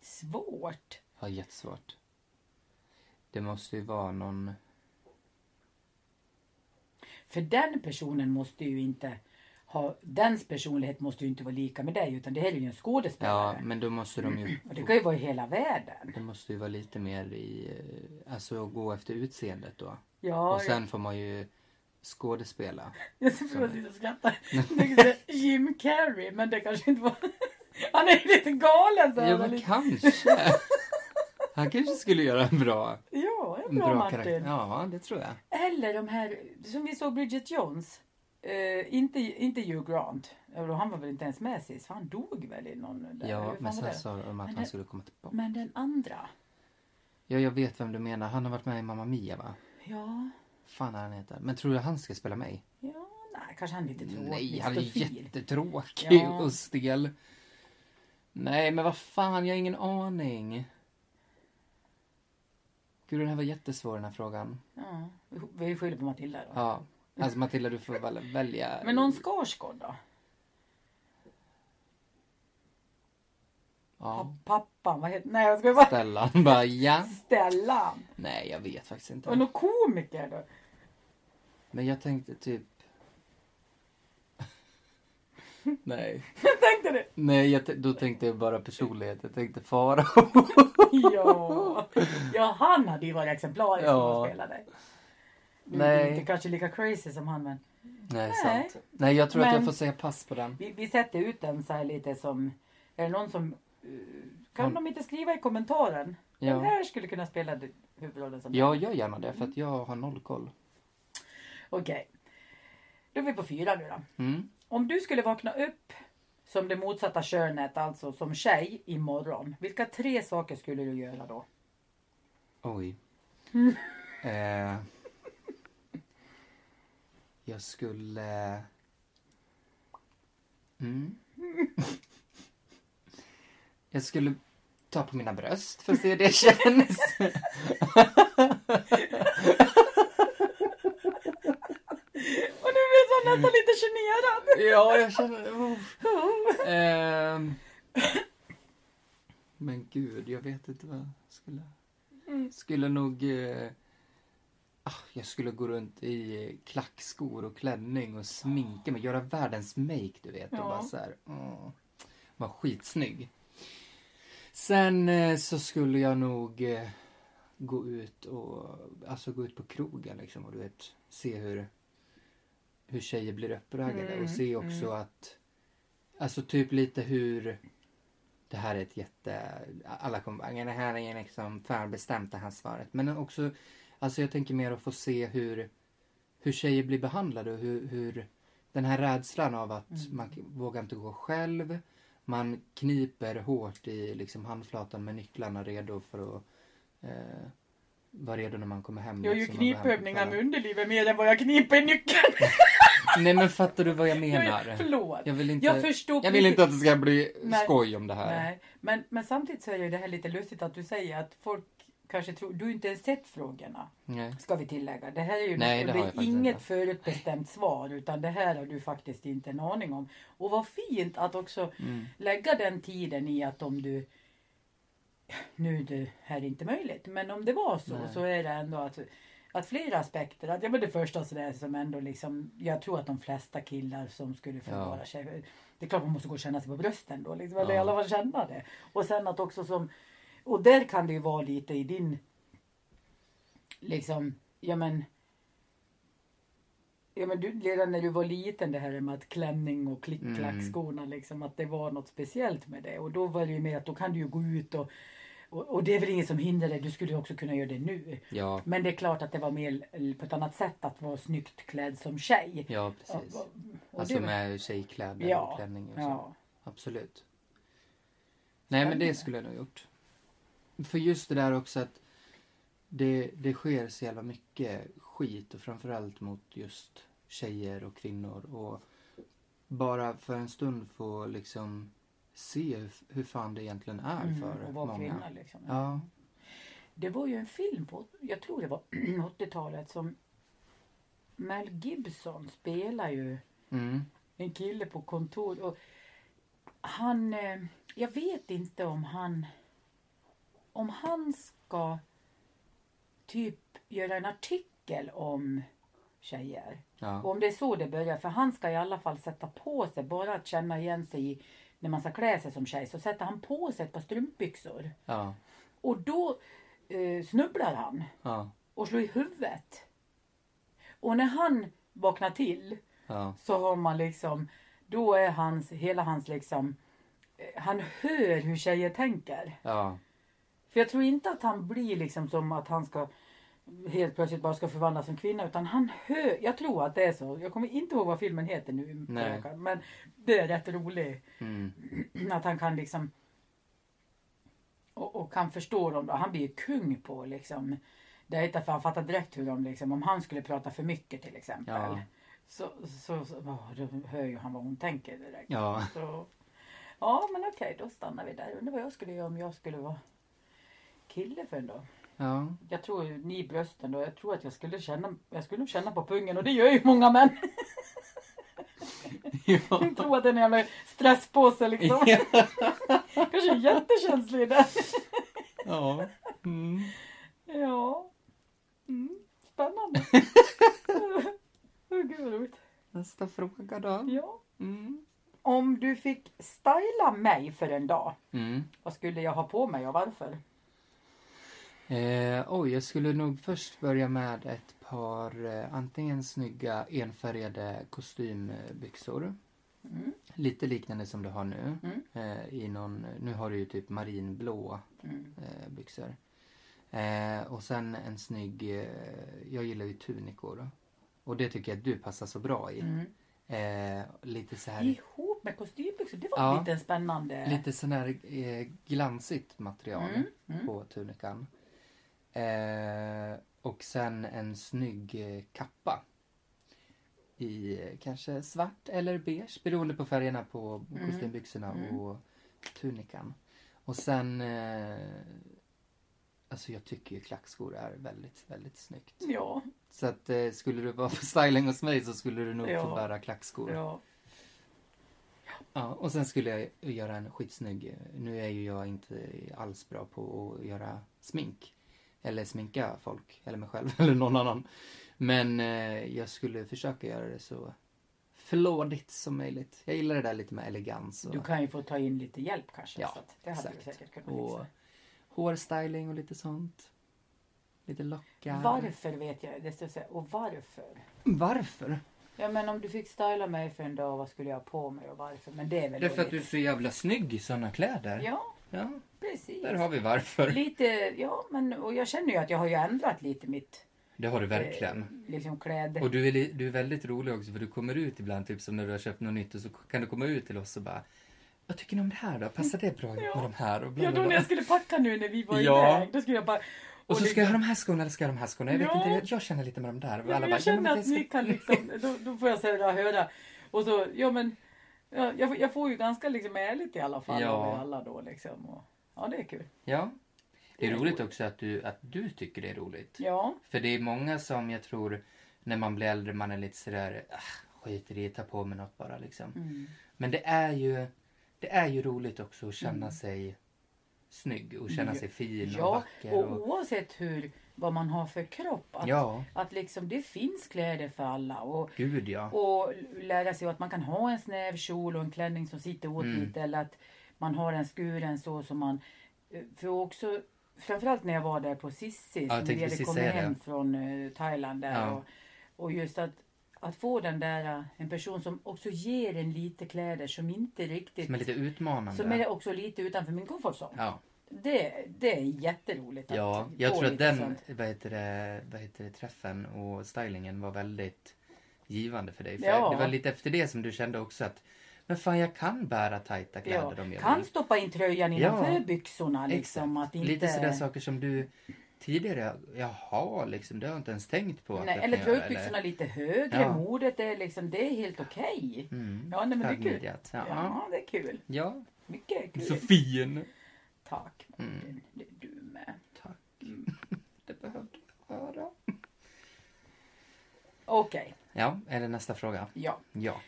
Speaker 1: Svårt.
Speaker 2: Ja, jättesvårt. Det måste ju vara någon...
Speaker 1: För den personen måste ju inte ha... Dens personlighet måste ju inte vara lika med dig. Utan det här är ju en
Speaker 2: Ja,
Speaker 1: skådespelare.
Speaker 2: men då måste de ju...
Speaker 1: Och det kan ju vara i hela världen.
Speaker 2: Det måste ju vara lite mer i... eh, Alltså gå efter utseendet då.
Speaker 1: Ja,
Speaker 2: Och sen får man ju skådespela.
Speaker 1: Jag ser precis sitta och skratta. Jag tänkte säga Jim Carrey, men det kanske inte var... Han är ju lite galen så
Speaker 2: Ja,
Speaker 1: här,
Speaker 2: men
Speaker 1: lite-
Speaker 2: kanske. Han kanske skulle göra en bra,
Speaker 1: ja en
Speaker 2: en
Speaker 1: bra,
Speaker 2: bra
Speaker 1: Martin.
Speaker 2: karaktär. Ja, det tror jag.
Speaker 1: Eller de här, som vi såg Bridget Jones. Eh, inte, inte Hugh Grant. Eller Han var väl inte ens med sist, för han dog väl i någon... Där. Hur
Speaker 2: Ja,
Speaker 1: fan
Speaker 2: men
Speaker 1: var
Speaker 2: sen
Speaker 1: det?
Speaker 2: sa de att
Speaker 1: Men
Speaker 2: han
Speaker 1: det-
Speaker 2: skulle komma tillbaka.
Speaker 1: men den andra?
Speaker 2: Ja, jag vet vem du menar. Han har varit med i Mamma Mia, va?
Speaker 1: Ja,
Speaker 2: Fan han heter. Men tror du han ska spela mig?
Speaker 1: ja, nej, kanske han är lite tråkig.
Speaker 2: Nej, han är
Speaker 1: stofil.
Speaker 2: jättetråkig
Speaker 1: Ja.
Speaker 2: och stel. Nej, men vad fan, jag har ingen aning. Gud, den här var jättesvår den här frågan.
Speaker 1: Ja, vi skyller på Matilda då.
Speaker 2: Ja. Alltså Matilda, du får väl välja.
Speaker 1: Men någon Skarsgård då?
Speaker 2: Ja.
Speaker 1: Pappan, vad heter... Nej, jag ska bara...
Speaker 2: Stellan bara, ja.
Speaker 1: Stellan!
Speaker 2: Nej, jag vet faktiskt
Speaker 1: Och
Speaker 2: inte.
Speaker 1: någon komiker då?
Speaker 2: Men jag tänkte typ... Nej.
Speaker 1: Tänkte du?
Speaker 2: Nej, jag t- då tänkte jag bara personlighet. Jag tänkte fara.
Speaker 1: Ja. ja, han hade ju varit exemplarisk om
Speaker 2: Ja.
Speaker 1: han spelade. Nu är
Speaker 2: Nej.
Speaker 1: det inte kanske lika crazy som han men
Speaker 2: Nej,
Speaker 1: Nej.
Speaker 2: sant. Nej, jag tror att jag
Speaker 1: Men-
Speaker 2: får säga pass på den.
Speaker 1: vi, vi sätter ut den så här lite som, är det någon som, eh, kan
Speaker 2: Han-
Speaker 1: de inte skriva i kommentaren?
Speaker 2: Ja.
Speaker 1: Den här skulle kunna spela du- huvudrollen som
Speaker 2: Ja, gör gärna det för att jag har noll koll.
Speaker 1: Okej. Då är vi på fyra nu då.
Speaker 2: Mm.
Speaker 1: Om du skulle vakna upp som det motsatta könet, alltså som tjej, imorgon. Vilka tre saker skulle du göra då?
Speaker 2: Oj. Eh, jag skulle... Mm. jag skulle ta på mina bröst för att se hur det känns.
Speaker 1: Och nu vet man nästan lite generad.
Speaker 2: Ja, jag känner... oh. Mm. Ehm. Men gud, jag vet inte vad jag skulle... Skulle nog... Eh, ah, jag skulle gå runt i eh, klackskor och klänning och sminka mig. Göra världens make, du vet.
Speaker 1: Ja.
Speaker 2: Och bara så här... åh, Var skitsnygg. Sen eh, så skulle jag nog eh, gå ut och... Alltså gå ut på krogen liksom och du vet, se hur... Hur tjejer blir uppraggade
Speaker 1: Mm,
Speaker 2: och se också att... Alltså typ lite hur... Det här är ett jätte... Alla kommer det här är liksom förbestämt det här svaret. Men också, alltså jag tänker mer att få se hur, hur tjejer blir behandlade och hur, hur den här rädslan av att
Speaker 1: Mm.
Speaker 2: man vågar inte gå själv. Man kniper hårt i liksom handflatan med nycklarna redo för att eh, vara redo när man kommer hem.
Speaker 1: Jag gör ju
Speaker 2: liksom, och går hem på
Speaker 1: knipövningar med
Speaker 2: kvällen.
Speaker 1: underlivet mer än vad jag kniper i nyckeln.
Speaker 2: Nej men fattar du vad jag
Speaker 1: Jag-
Speaker 2: menar?
Speaker 1: Förlåt.
Speaker 2: Jag vill inte,
Speaker 1: Jag
Speaker 2: jag
Speaker 1: förstod
Speaker 2: vill
Speaker 1: precis-
Speaker 2: inte att det ska bli
Speaker 1: Nej.
Speaker 2: skoj om det här.
Speaker 1: Nej, men, men samtidigt så är ju det här lite lustigt att du säger att folk kanske tror... Du har ju inte ens sett frågorna,
Speaker 2: Nej.
Speaker 1: ska vi tillägga. Det här är ju
Speaker 2: Nej,
Speaker 1: och
Speaker 2: det har jag
Speaker 1: är
Speaker 2: faktiskt
Speaker 1: inget
Speaker 2: inte.
Speaker 1: förutbestämt svar utan det här har du faktiskt inte en aning om. Och vad fint att också
Speaker 2: Mm.
Speaker 1: lägga den tiden i att om du... Nu det här är inte möjligt, men om det var så
Speaker 2: Nej.
Speaker 1: så är det ändå att, att flera aspekter. Att, ja, men det första så där som ändå liksom... Jag tror att de flesta killar som skulle få
Speaker 2: Ja.
Speaker 1: vara tjejer... Det är klart man måste gå och känna sig på brösten då, liksom, eller i
Speaker 2: Ja.
Speaker 1: alla fall känna det. Och sen att också som... Och där kan det ju vara lite i din... Liksom, ja men... Ja men du, redan när du var liten det här med att klänning och klick-klack-skorna
Speaker 2: Mm.
Speaker 1: liksom att det var något speciellt med det och då var det ju mer att då kan du ju gå ut och och, och det är väl inget som hindrar dig, du skulle ju också kunna göra det nu.
Speaker 2: Ja,
Speaker 1: Men det är klart att det var mer l- på ett annat sätt att vara snyggt klädd som tjej.
Speaker 2: ja precis.
Speaker 1: Och- och
Speaker 2: Alltså
Speaker 1: det är väl-
Speaker 2: med tjejkläder
Speaker 1: Ja,
Speaker 2: och klänning och så.
Speaker 1: ja.
Speaker 2: Absolut. Nej men det skulle jag nog gjort. För just det där också att det, det sker så jävla mycket skit och framförallt mot just tjejer och kvinnor och bara för en stund få liksom se hur, hur fan det egentligen är
Speaker 1: Mm,
Speaker 2: för
Speaker 1: och vara
Speaker 2: många.
Speaker 1: kvinna liksom.
Speaker 2: Ja.
Speaker 1: Det var ju en film på, jag tror det var 80-talet som Mel Gibson spelar ju
Speaker 2: Mm.
Speaker 1: en kille på kontor och han, eh, jag vet inte om han, om han ska typ göra en artikel om tjejer. Och
Speaker 2: Ja.
Speaker 1: om det är så det börjar, för han ska i alla fall sätta på sig, bara att känna igen sig i när man ska klä sig som tjej, så sätter han på sig ett par strumpbyxor.
Speaker 2: Ja.
Speaker 1: Och då eh, snubblar han
Speaker 2: Ja.
Speaker 1: och slår i huvudet. Och när han vaknar till
Speaker 2: Ja.
Speaker 1: så har man liksom, då är hans, hela hans liksom, eh, han hör hur tjejer tänker.
Speaker 2: Ja.
Speaker 1: För jag tror inte att han blir liksom som att han ska helt plötsligt bara ska förvandlas som kvinna utan han hör, jag tror att det är så, jag kommer inte ihåg vad filmen heter nu på
Speaker 2: Nej.
Speaker 1: rakan, men det är rätt roligt
Speaker 2: Mm.
Speaker 1: att han kan liksom och, och kan förstå dem då. Han blir ju kung på liksom det är inte för han fattar direkt hur de liksom, om han skulle prata för mycket till exempel.
Speaker 2: Ja.
Speaker 1: Så, så, så åh, då hör ju han vad hon tänker direkt.
Speaker 2: Ja.
Speaker 1: Så, ja men okej, då stannar vi där. Undrar vad jag skulle göra om jag skulle vara kille för en dag.
Speaker 2: Ja.
Speaker 1: Jag tror ju ni i brösten då, jag tror att jag skulle känna, jag skulle nog känna på pungen och det gör ju många män.
Speaker 2: ja.
Speaker 1: Jag tror att det är en jävla stresspåse liksom. Kanske är jättekänslig där.
Speaker 2: ja. Mm.
Speaker 1: Ja. Mm. Spännande. Åh, Gud vad roligt.
Speaker 2: Nästa fråga då.
Speaker 1: Ja.
Speaker 2: Mm.
Speaker 1: Om du fick styla mig för en dag,
Speaker 2: Mm.
Speaker 1: vad skulle jag ha på mig och varför?
Speaker 2: Eh, oj, jag skulle nog först börja med ett par eh, antingen snygga enfärgade kostymbyxor.
Speaker 1: Mm.
Speaker 2: Lite liknande som du har nu.
Speaker 1: Mm.
Speaker 2: Eh, i någon, nu har du ju typ marinblå
Speaker 1: Mm.
Speaker 2: eh, byxor. Eh, och sen en snygg, eh, jag gillar ju tunikor. Och det tycker jag att du passar så bra i.
Speaker 1: Mm.
Speaker 2: Eh, lite så här,
Speaker 1: Ihop med kostymbyxor, det var
Speaker 2: Ja.
Speaker 1: lite spännande.
Speaker 2: lite sån här eh, glansigt material
Speaker 1: Mm, mm.
Speaker 2: på tunikan. Eh, och sen en snygg eh, kappa. I eh, kanske svart eller beige beroende på färgerna på
Speaker 1: Mm.
Speaker 2: kostymbyxorna
Speaker 1: Mm.
Speaker 2: och tunikan. Och sen eh, Alltså jag tycker ju klackskor är väldigt, väldigt snyggt.
Speaker 1: Ja,
Speaker 2: Så att eh, skulle du vara på styling hos mig så skulle du nog få
Speaker 1: Ja.
Speaker 2: bära klackskor. Ja.
Speaker 1: ja.
Speaker 2: och sen skulle jag ju göra en skitsnygg. eh, Nu är ju jag inte alls bra på att göra smink. Eller sminka folk, eller mig själv, eller någon annan. Men eh, jag skulle försöka göra det så flådigt som möjligt. Jag gillar det där lite med elegans. Och...
Speaker 1: Du kan ju få ta in lite hjälp kanske.
Speaker 2: Ja,
Speaker 1: så att det hade du
Speaker 2: exakt.
Speaker 1: säkert kunnat
Speaker 2: och
Speaker 1: fixa.
Speaker 2: hårstyling och lite sånt. Lite lockar.
Speaker 1: Varför vet jag det ska jag säga. Och varför?
Speaker 2: Varför?
Speaker 1: Ja men om du fick styla mig för en dag, vad skulle jag ha på mig och varför? Men det är väl
Speaker 2: Därför att du är
Speaker 1: roligt.
Speaker 2: så jävla snygg i såna kläder.
Speaker 1: Ja,
Speaker 2: Ja,
Speaker 1: precis.
Speaker 2: där har vi varför.
Speaker 1: Lite, ja men och jag känner ju att jag har ju ändrat lite mitt eh,
Speaker 2: Det har du verkligen.
Speaker 1: liksom kläd...
Speaker 2: Och du är, li- du är väldigt rolig också för du kommer ut ibland, typ som när du har köpt något nytt och så kan du komma ut till oss och bara Vad tycker ni om det här då? Passar det bra ihop med de här? Och, bla,
Speaker 1: Ja
Speaker 2: bla,
Speaker 1: då när
Speaker 2: bla.
Speaker 1: jag skulle packa nu när vi var
Speaker 2: Ja.
Speaker 1: iväg, då skulle jag bara...
Speaker 2: och så
Speaker 1: det-
Speaker 2: ska jag ha de här skorna eller ska jag ha de här skorna? Jag vet
Speaker 1: Ja.
Speaker 2: inte, jag, jag känner lite med de där. Och
Speaker 1: Ja, men
Speaker 2: bara,
Speaker 1: jag
Speaker 2: men
Speaker 1: känner
Speaker 2: jag
Speaker 1: att ni
Speaker 2: ska-
Speaker 1: kan liksom, då, då får jag säga höra. Och så, ja men, ja, jag, får- jag får ju ganska liksom ärligt i alla fall
Speaker 2: Ja.
Speaker 1: av er alla då liksom. Och, ja det är kul.
Speaker 2: Ja. Det är
Speaker 1: Det är
Speaker 2: roligt
Speaker 1: roligt.
Speaker 2: också att du, att du tycker det är roligt.
Speaker 1: Ja,
Speaker 2: För det är många som jag tror när man blir äldre man är lite sådär ah, skiter i det, ta på mig något bara liksom.
Speaker 1: Mm.
Speaker 2: Men det är ju det är ju roligt också att känna sig snygg och känna sig fin och
Speaker 1: Mm. ja
Speaker 2: vacker.
Speaker 1: och
Speaker 2: Och,
Speaker 1: oavsett hur, vad man har för kropp. Att,
Speaker 2: ja,
Speaker 1: att liksom det finns kläder för alla. Och,
Speaker 2: gud ja.
Speaker 1: och lära sig att man kan ha en snäv kjol och en klänning som sitter åt
Speaker 2: Mm.
Speaker 1: lite. Eller att man har en skuren så som man... eh, För också, framförallt när jag var där på Sissi.
Speaker 2: jag
Speaker 1: som vi
Speaker 2: tänkte
Speaker 1: hade
Speaker 2: precis
Speaker 1: kommit
Speaker 2: säga det.
Speaker 1: hem från eh, Thailand där.
Speaker 2: Ja.
Speaker 1: Och, och just att, att få den där, eh, en person som också ger en lite kläder som inte riktigt...
Speaker 2: Som är lite utmanande.
Speaker 1: som är också lite utanför min komfortzon.
Speaker 2: Ja,
Speaker 1: Det, det är jätteroligt. att
Speaker 2: ja. jag
Speaker 1: få
Speaker 2: tror att
Speaker 1: lite
Speaker 2: den
Speaker 1: sånt.
Speaker 2: vad heter, det, vad heter det, träffen och stylingen var väldigt givande för dig. För
Speaker 1: Ja.
Speaker 2: Det var lite efter det som du kände också att men fan jag kan bära tajta kläder
Speaker 1: Ja,
Speaker 2: om jag vill.
Speaker 1: kan stoppa in tröjan innanför
Speaker 2: Ja.
Speaker 1: byxorna. Liksom,
Speaker 2: Exakt.
Speaker 1: att inte...
Speaker 2: Lite sådär saker som du tidigare, jaha liksom, det har jag inte ens tänkt på. att
Speaker 1: Nej,
Speaker 2: jag
Speaker 1: eller
Speaker 2: kan
Speaker 1: dra
Speaker 2: göra,
Speaker 1: ut byxorna lite högre,
Speaker 2: Ja.
Speaker 1: modet är liksom, det är helt okej.
Speaker 2: Mm.
Speaker 1: Ja, nej, men det är kul.
Speaker 2: Högmidjat.
Speaker 1: Ja.
Speaker 2: Ja.
Speaker 1: det är kul.
Speaker 2: ja.
Speaker 1: Mycket är kul.
Speaker 2: Så Mm. fin.
Speaker 1: Tack Martin, det är du med.
Speaker 2: Tack. Det behövde jag höra.
Speaker 1: Okej,
Speaker 2: Ja, är det nästa fråga?
Speaker 1: ja.
Speaker 2: Ja.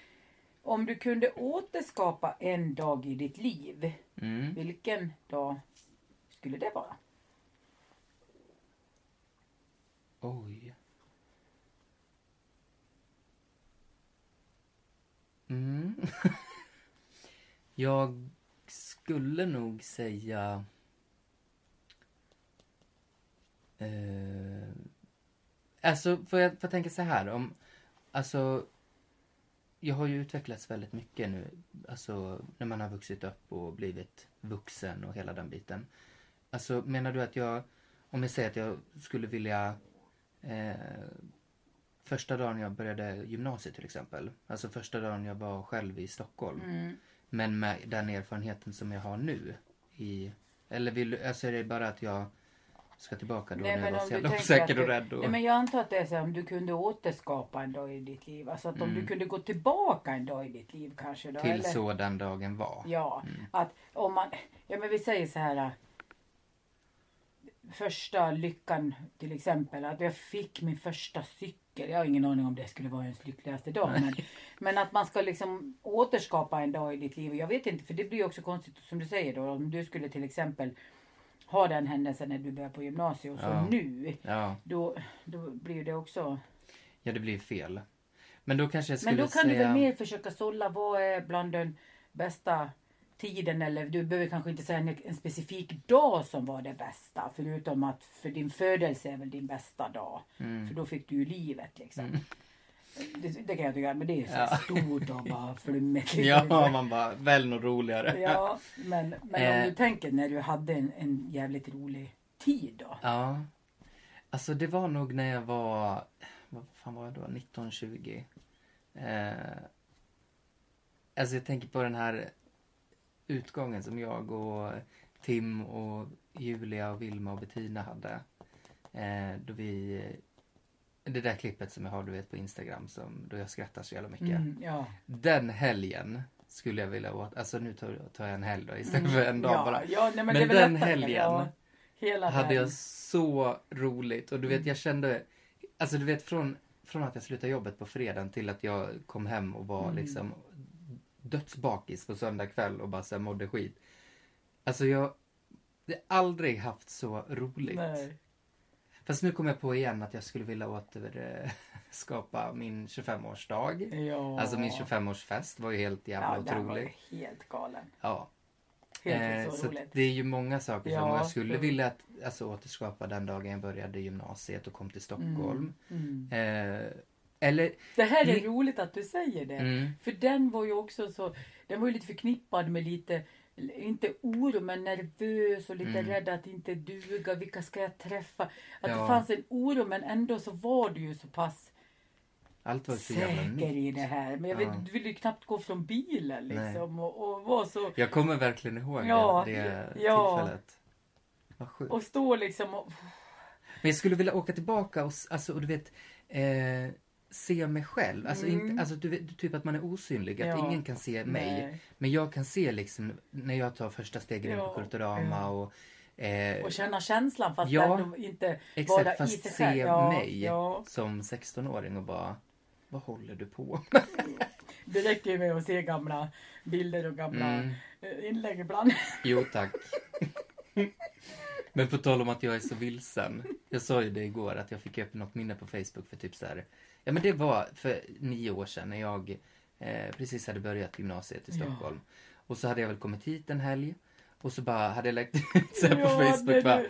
Speaker 1: Om du kunde återskapa en dag i ditt liv,
Speaker 2: Mm.
Speaker 1: vilken dag skulle det vara?
Speaker 2: Oj. Mm. jag skulle nog säga... Eh, alltså, får jag, får jag tänka så här? Om, alltså, jag har ju utvecklats väldigt mycket nu. Alltså, när man har vuxit upp och blivit vuxen och hela den biten. Alltså, menar du att jag... Om jag säger att jag skulle vilja... Eh, första dagen jag började gymnasiet till exempel. Alltså första dagen jag var själv i Stockholm.
Speaker 1: Mm.
Speaker 2: Men med den erfarenheten som jag har nu. I, eller vill du, alltså är det bara att jag ska tillbaka då när jag var så jävla osäker och rädd? Och,
Speaker 1: nej, men jag antar att det är så här, om du kunde återskapa en dag i ditt liv. Alltså att om du kunde gå tillbaka en dag i ditt liv kanske. Då,
Speaker 2: Mm. till
Speaker 1: eller?
Speaker 2: så den dagen var.
Speaker 1: Ja, att om man, ja men vi säger så här. äh, Första lyckan till exempel, att jag fick min första cykel. Jag har ingen aning om det skulle vara ens lyckligaste dag. Men, men att man ska liksom återskapa en dag i ditt liv. Och Jag vet inte, för det blir ju också konstigt som du säger då. Om du skulle till exempel ha den händelsen när du började på gymnasiet och så
Speaker 2: Ja.
Speaker 1: nu.
Speaker 2: Ja,
Speaker 1: Då, då blir ju det också.
Speaker 2: ja det blir fel. Men då kanske jag skulle
Speaker 1: Men då kan
Speaker 2: säga...
Speaker 1: du väl mer försöka sålla vad är bland den bästa tiden eller du behöver kanske inte säga en, en specifik dag som var det bästa förutom att för din födelse är väl din bästa dag.
Speaker 2: Mm.
Speaker 1: För då fick du ju livet liksom. Det, det kan jag tycka, men det är ju så
Speaker 2: Ja.
Speaker 1: stort och bara flummigt. liksom.
Speaker 2: Ja, man bara, väl något roligare.
Speaker 1: ja, men, men
Speaker 2: Eh.
Speaker 1: om du tänker när du hade en, en jävligt rolig tid då.
Speaker 2: Ja. Alltså det var nog när jag var, vad fan var jag då, 19, 20. Eh, alltså jag tänker på den här utgången som jag och Tim och Julia och Vilma och Bettina hade. Eh, då vi, det där klippet som jag har du vet på Instagram som, då jag skrattar så jävla mycket.
Speaker 1: Mm, ja.
Speaker 2: Den helgen skulle jag vilja åt, alltså nu tar, tar jag en helg då istället för en dag
Speaker 1: Mm. ja,
Speaker 2: bara.
Speaker 1: ja, nej, men
Speaker 2: Men,
Speaker 1: det är väl
Speaker 2: den
Speaker 1: lättare,
Speaker 2: helgen
Speaker 1: ja. Hela
Speaker 2: hade
Speaker 1: den. Mm.
Speaker 2: jag så roligt. Och du vet, jag kände... Alltså du vet, från, från att jag slutade jobbet på fredagen till att jag kom hem och
Speaker 1: Mm.
Speaker 2: var liksom dödsbakis på söndag kväll och bara så här, mådde skit. Alltså jag jag har aldrig haft så roligt.
Speaker 1: Nej.
Speaker 2: Fast nu kom jag på igen att jag skulle vilja återskapa min 25-årsdag.
Speaker 1: Ja.
Speaker 2: Alltså min 25-årsfest var ju helt
Speaker 1: ja,
Speaker 2: jävla
Speaker 1: den var
Speaker 2: otrolig.
Speaker 1: ju helt galen.
Speaker 2: Ja.
Speaker 1: Helt
Speaker 2: Eh,
Speaker 1: så,
Speaker 2: så att
Speaker 1: roligt.
Speaker 2: det är ju många saker som
Speaker 1: Ja.
Speaker 2: jag skulle
Speaker 1: Mm.
Speaker 2: vilja att, alltså, återskapa den dagen jag började gymnasiet och kom till Stockholm. Eh, eller...
Speaker 1: Mm. Det här är
Speaker 2: Mm.
Speaker 1: roligt att du säger det.
Speaker 2: Mm,
Speaker 1: För den var ju också så, den var ju lite förknippad med lite, inte oro men nervös och lite
Speaker 2: Mm.
Speaker 1: rädd att inte duga, vilka ska jag träffa? Att det
Speaker 2: Ja.
Speaker 1: fanns en oro men ändå så var du ju så pass
Speaker 2: allt var ju så jävla
Speaker 1: säker
Speaker 2: nytt.
Speaker 1: i det här. Men jag vet,
Speaker 2: Ja.
Speaker 1: du ville ju knappt gå från bilen
Speaker 2: Nej.
Speaker 1: liksom och, och var så,
Speaker 2: Jag kommer verkligen ihåg
Speaker 1: Ja,
Speaker 2: det, det
Speaker 1: ja.
Speaker 2: tillfället. Vad sjukt.
Speaker 1: och stå liksom och,
Speaker 2: Men jag skulle vilja åka tillbaka och, s- alltså, och du vet, eh, se mig själv. Alltså,
Speaker 1: Mm.
Speaker 2: inte, alltså du vet, typ att man är osynlig, att
Speaker 1: Ja.
Speaker 2: ingen kan se mig.
Speaker 1: Nej.
Speaker 2: Men jag kan se liksom när jag tar första steget in
Speaker 1: Ja,
Speaker 2: på Kulturama
Speaker 1: ja.
Speaker 2: och, eh,
Speaker 1: och känna känslan fast
Speaker 2: Ja.
Speaker 1: ändå inte vara
Speaker 2: exakt
Speaker 1: i sig
Speaker 2: fast se
Speaker 1: själv. Ja,
Speaker 2: mig
Speaker 1: ja.
Speaker 2: som 16-åring och bara vad håller du på
Speaker 1: Det räcker ju med att se gamla bilder och gamla
Speaker 2: Mm.
Speaker 1: eh, inlägg ibland.
Speaker 2: Jo tack. Men på tal om att jag är så vilsen. Jag sa ju det igår att jag fick upp något minne på Facebook för typ så här. Ja men det var för nio år sedan när jag eh, precis hade börjat gymnasiet i
Speaker 1: Ja.
Speaker 2: Stockholm. Och så hade jag väl kommit hit en helg. Och så bara hade jag lagt ut så här
Speaker 1: Ja,
Speaker 2: på
Speaker 1: det är
Speaker 2: Facebook. Bara,
Speaker 1: du.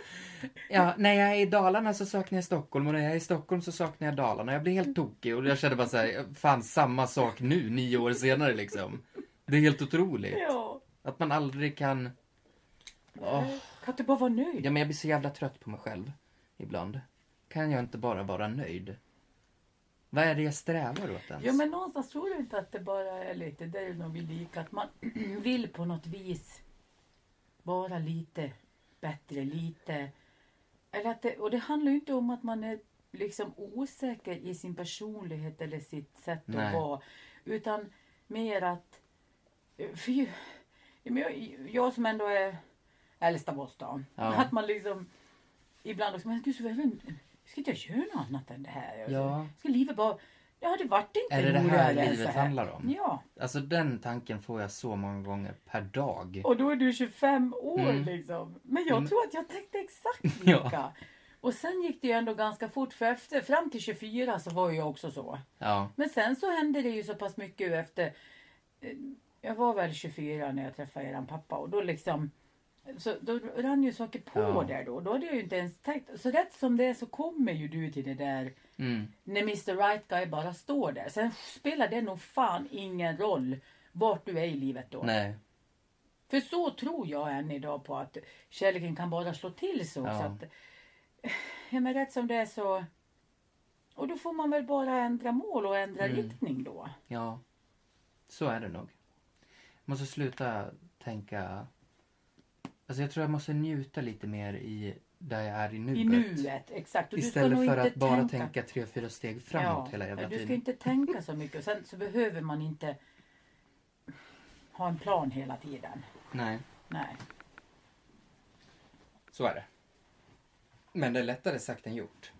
Speaker 2: ja, när jag är i Dalarna så saknar jag Stockholm och när jag är i Stockholm så saknar jag Dalarna. Jag blir helt tokig och jag kände bara så här, fan samma sak nu nio år senare liksom. Det är helt otroligt.
Speaker 1: Ja. Eh,
Speaker 2: Att man aldrig kan... Åh.
Speaker 1: Kan du bara vara nöjd?
Speaker 2: Ja, men jag blir så jävla trött på mig själv ibland. Kan jag inte bara vara nöjd? Vad är det jag strävar åt ens?
Speaker 1: Ja men någonstans tror du inte att det bara är lite, det är ju nog vi lika, att man vill på något vis vara lite bättre, lite... Eller att det, och det handlar ju inte om att man är liksom osäker i sin personlighet eller sitt sätt
Speaker 2: Nej.
Speaker 1: att vara. Utan mer att... För, ju- ja, men jag, jag som ändå är äldst av oss då.
Speaker 2: Ja.
Speaker 1: Att man liksom ibland också, men gud, så är det, ska inte jag göra något annat än det här? Alltså,
Speaker 2: Ja.
Speaker 1: Ska livet bara... Ja, det vart inte
Speaker 2: Är det det här
Speaker 1: roligare än
Speaker 2: livet
Speaker 1: så här.
Speaker 2: handlar om?
Speaker 1: Ja.
Speaker 2: Alltså den tanken får jag så många gånger per dag.
Speaker 1: Och då är du 25 år
Speaker 2: Mm.
Speaker 1: liksom. Men jag
Speaker 2: Mm.
Speaker 1: tror att jag tänkte exakt
Speaker 2: Ja.
Speaker 1: lika. Och sen gick det ju ändå ganska fort för efter, fram till 24 så var jag också så.
Speaker 2: Ja.
Speaker 1: Men sen så hände det ju så pass mycket efter. eh, Jag var väl 24 när jag träffade eran pappa och då liksom så då rann ju saker på
Speaker 2: Ja.
Speaker 1: där då. Då hade jag ju inte ens tänkt. Så rätt som det är så kommer ju du till det där
Speaker 2: Mm.
Speaker 1: när Mr Right Guy bara står där. Sen spelar det nog fan ingen roll vart du är i livet då.
Speaker 2: Nej.
Speaker 1: För så tror jag än idag på att kärleken kan bara slå till så.
Speaker 2: Ja.
Speaker 1: så att, ja, men rätt som det är så... Och då får man väl bara ändra mål och ändra
Speaker 2: Mm.
Speaker 1: riktning då.
Speaker 2: Ja. Så är det nog. Jag måste sluta tänka... Alltså jag tror jag måste njuta lite mer i där jag är i nuet.
Speaker 1: I nuet, exakt. Och
Speaker 2: Istället
Speaker 1: nog
Speaker 2: för
Speaker 1: inte
Speaker 2: att bara tänka tre, fyra steg framåt
Speaker 1: Ja,
Speaker 2: hela jävla
Speaker 1: Du
Speaker 2: tiden.
Speaker 1: ska inte tänka så mycket. Och sen så behöver man inte ha en plan hela tiden.
Speaker 2: Nej.
Speaker 1: Nej.
Speaker 2: Så är det. Men det är lättare sagt än gjort.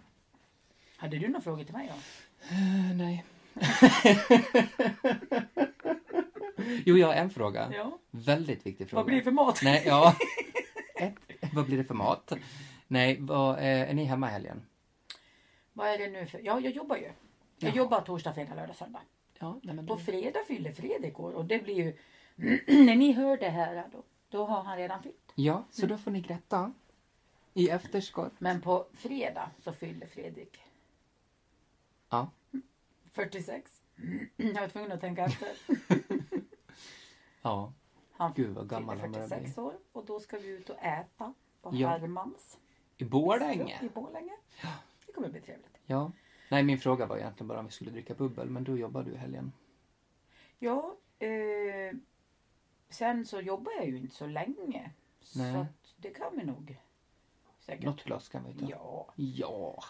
Speaker 1: Hade du några frågor till mig då? Eh,
Speaker 2: nej. jo, jag har en fråga.
Speaker 1: Ja.
Speaker 2: Väldigt viktig fråga.
Speaker 1: Vad blir det för mat?
Speaker 2: Nej, ja. Ett, vad blir det för mat? Nej, vad, eh, är ni hemma i helgen?
Speaker 1: Vad är det nu för... Ja, jag jobbar ju. Jag
Speaker 2: Jaha. Mm.
Speaker 1: jobbar torsdag, fredag, lördag, söndag.
Speaker 2: Ja, nej men
Speaker 1: På fredag fyller Fredrik år och det blir ju... när ni hör det här då, då har han redan fyllt.
Speaker 2: Ja, Mm. så då får ni gratta. I efterskott.
Speaker 1: Men på fredag så fyller Fredrik
Speaker 2: Ja.
Speaker 1: 46. jag var tvungen att tänka efter.
Speaker 2: Ja.
Speaker 1: Han
Speaker 2: Gud, vad gammal han
Speaker 1: fyller
Speaker 2: börjar
Speaker 1: 46 år och då ska vi ut och äta på
Speaker 2: Ja.
Speaker 1: Hermans
Speaker 2: I Borlänge?
Speaker 1: i Borlänge. Det kommer bli trevligt.
Speaker 2: Ja. Nej, min fråga var egentligen bara om vi skulle dricka bubbel, men då jobbar du i helgen.
Speaker 1: Ja, eh, sen så jobbar jag ju inte så länge.
Speaker 2: Nej.
Speaker 1: Så att det kan vi nog säkert.
Speaker 2: Något glas kan vi ta.
Speaker 1: Ja.
Speaker 2: Ja.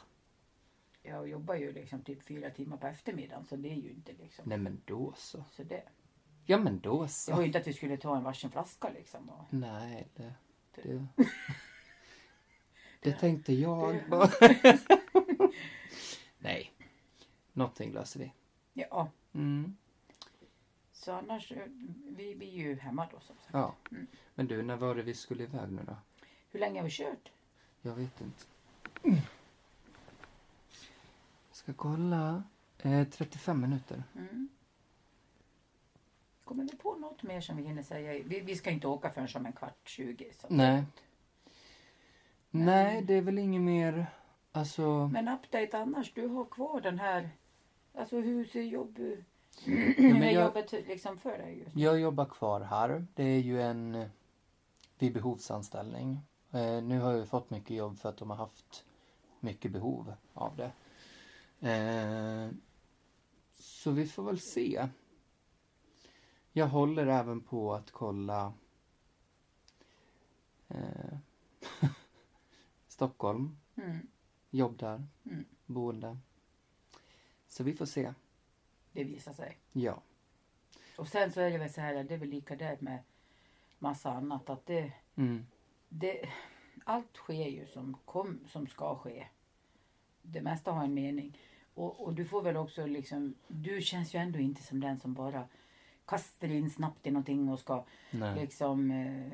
Speaker 1: Jag jobbar ju liksom typ fyra timmar på eftermiddagen så det är ju inte liksom
Speaker 2: Nej, men då så.
Speaker 1: så det.
Speaker 2: Ja, men då
Speaker 1: Det
Speaker 2: så.
Speaker 1: var ju inte att vi skulle ta en varsin flaska liksom. Och...
Speaker 2: Nej, det... det. Det tänkte jag. Nej. Någonting löser vi.
Speaker 1: Ja,
Speaker 2: Mm.
Speaker 1: så annars, eh, vi blir ju hemma då som sagt.
Speaker 2: Ja. Men du, när var det vi skulle iväg nu då?
Speaker 1: Hur länge har vi kört?
Speaker 2: Jag vet inte. Ska kolla. Eh, 35 minuter.
Speaker 1: Mm. Kommer vi på något mer som vi hinner säga? Vi, vi ska inte åka förrän om en kvart, 20. Så.
Speaker 2: Nej. Nej, det är väl inget mer. Alltså,
Speaker 1: Men update annars, du har kvar den här... Alltså hur ser jobb,
Speaker 2: men
Speaker 1: hur är
Speaker 2: jag-
Speaker 1: jobbet liksom för dig just nu?
Speaker 2: jag jobbar kvar här. Det är ju en eh, vid behovsanställning. Eh, nu har jag ju fått mycket jobb för att de har haft mycket behov av det. Eh, så vi får väl se. Jag håller även på att kolla eh, Stockholm,
Speaker 1: Mm.
Speaker 2: jobb där,
Speaker 1: Mm.
Speaker 2: boende. Så vi får se.
Speaker 1: Det visar sig.
Speaker 2: Ja.
Speaker 1: Och sen så är det väl så här, det är väl lika där med massa annat att det...
Speaker 2: Mm.
Speaker 1: det allt sker ju som, kom, som ska ske. Det mesta har en mening. Och, och du får väl också liksom... Du känns ju ändå inte som den som bara kastar in snabbt i någonting och ska
Speaker 2: Nej.
Speaker 1: liksom... Eh,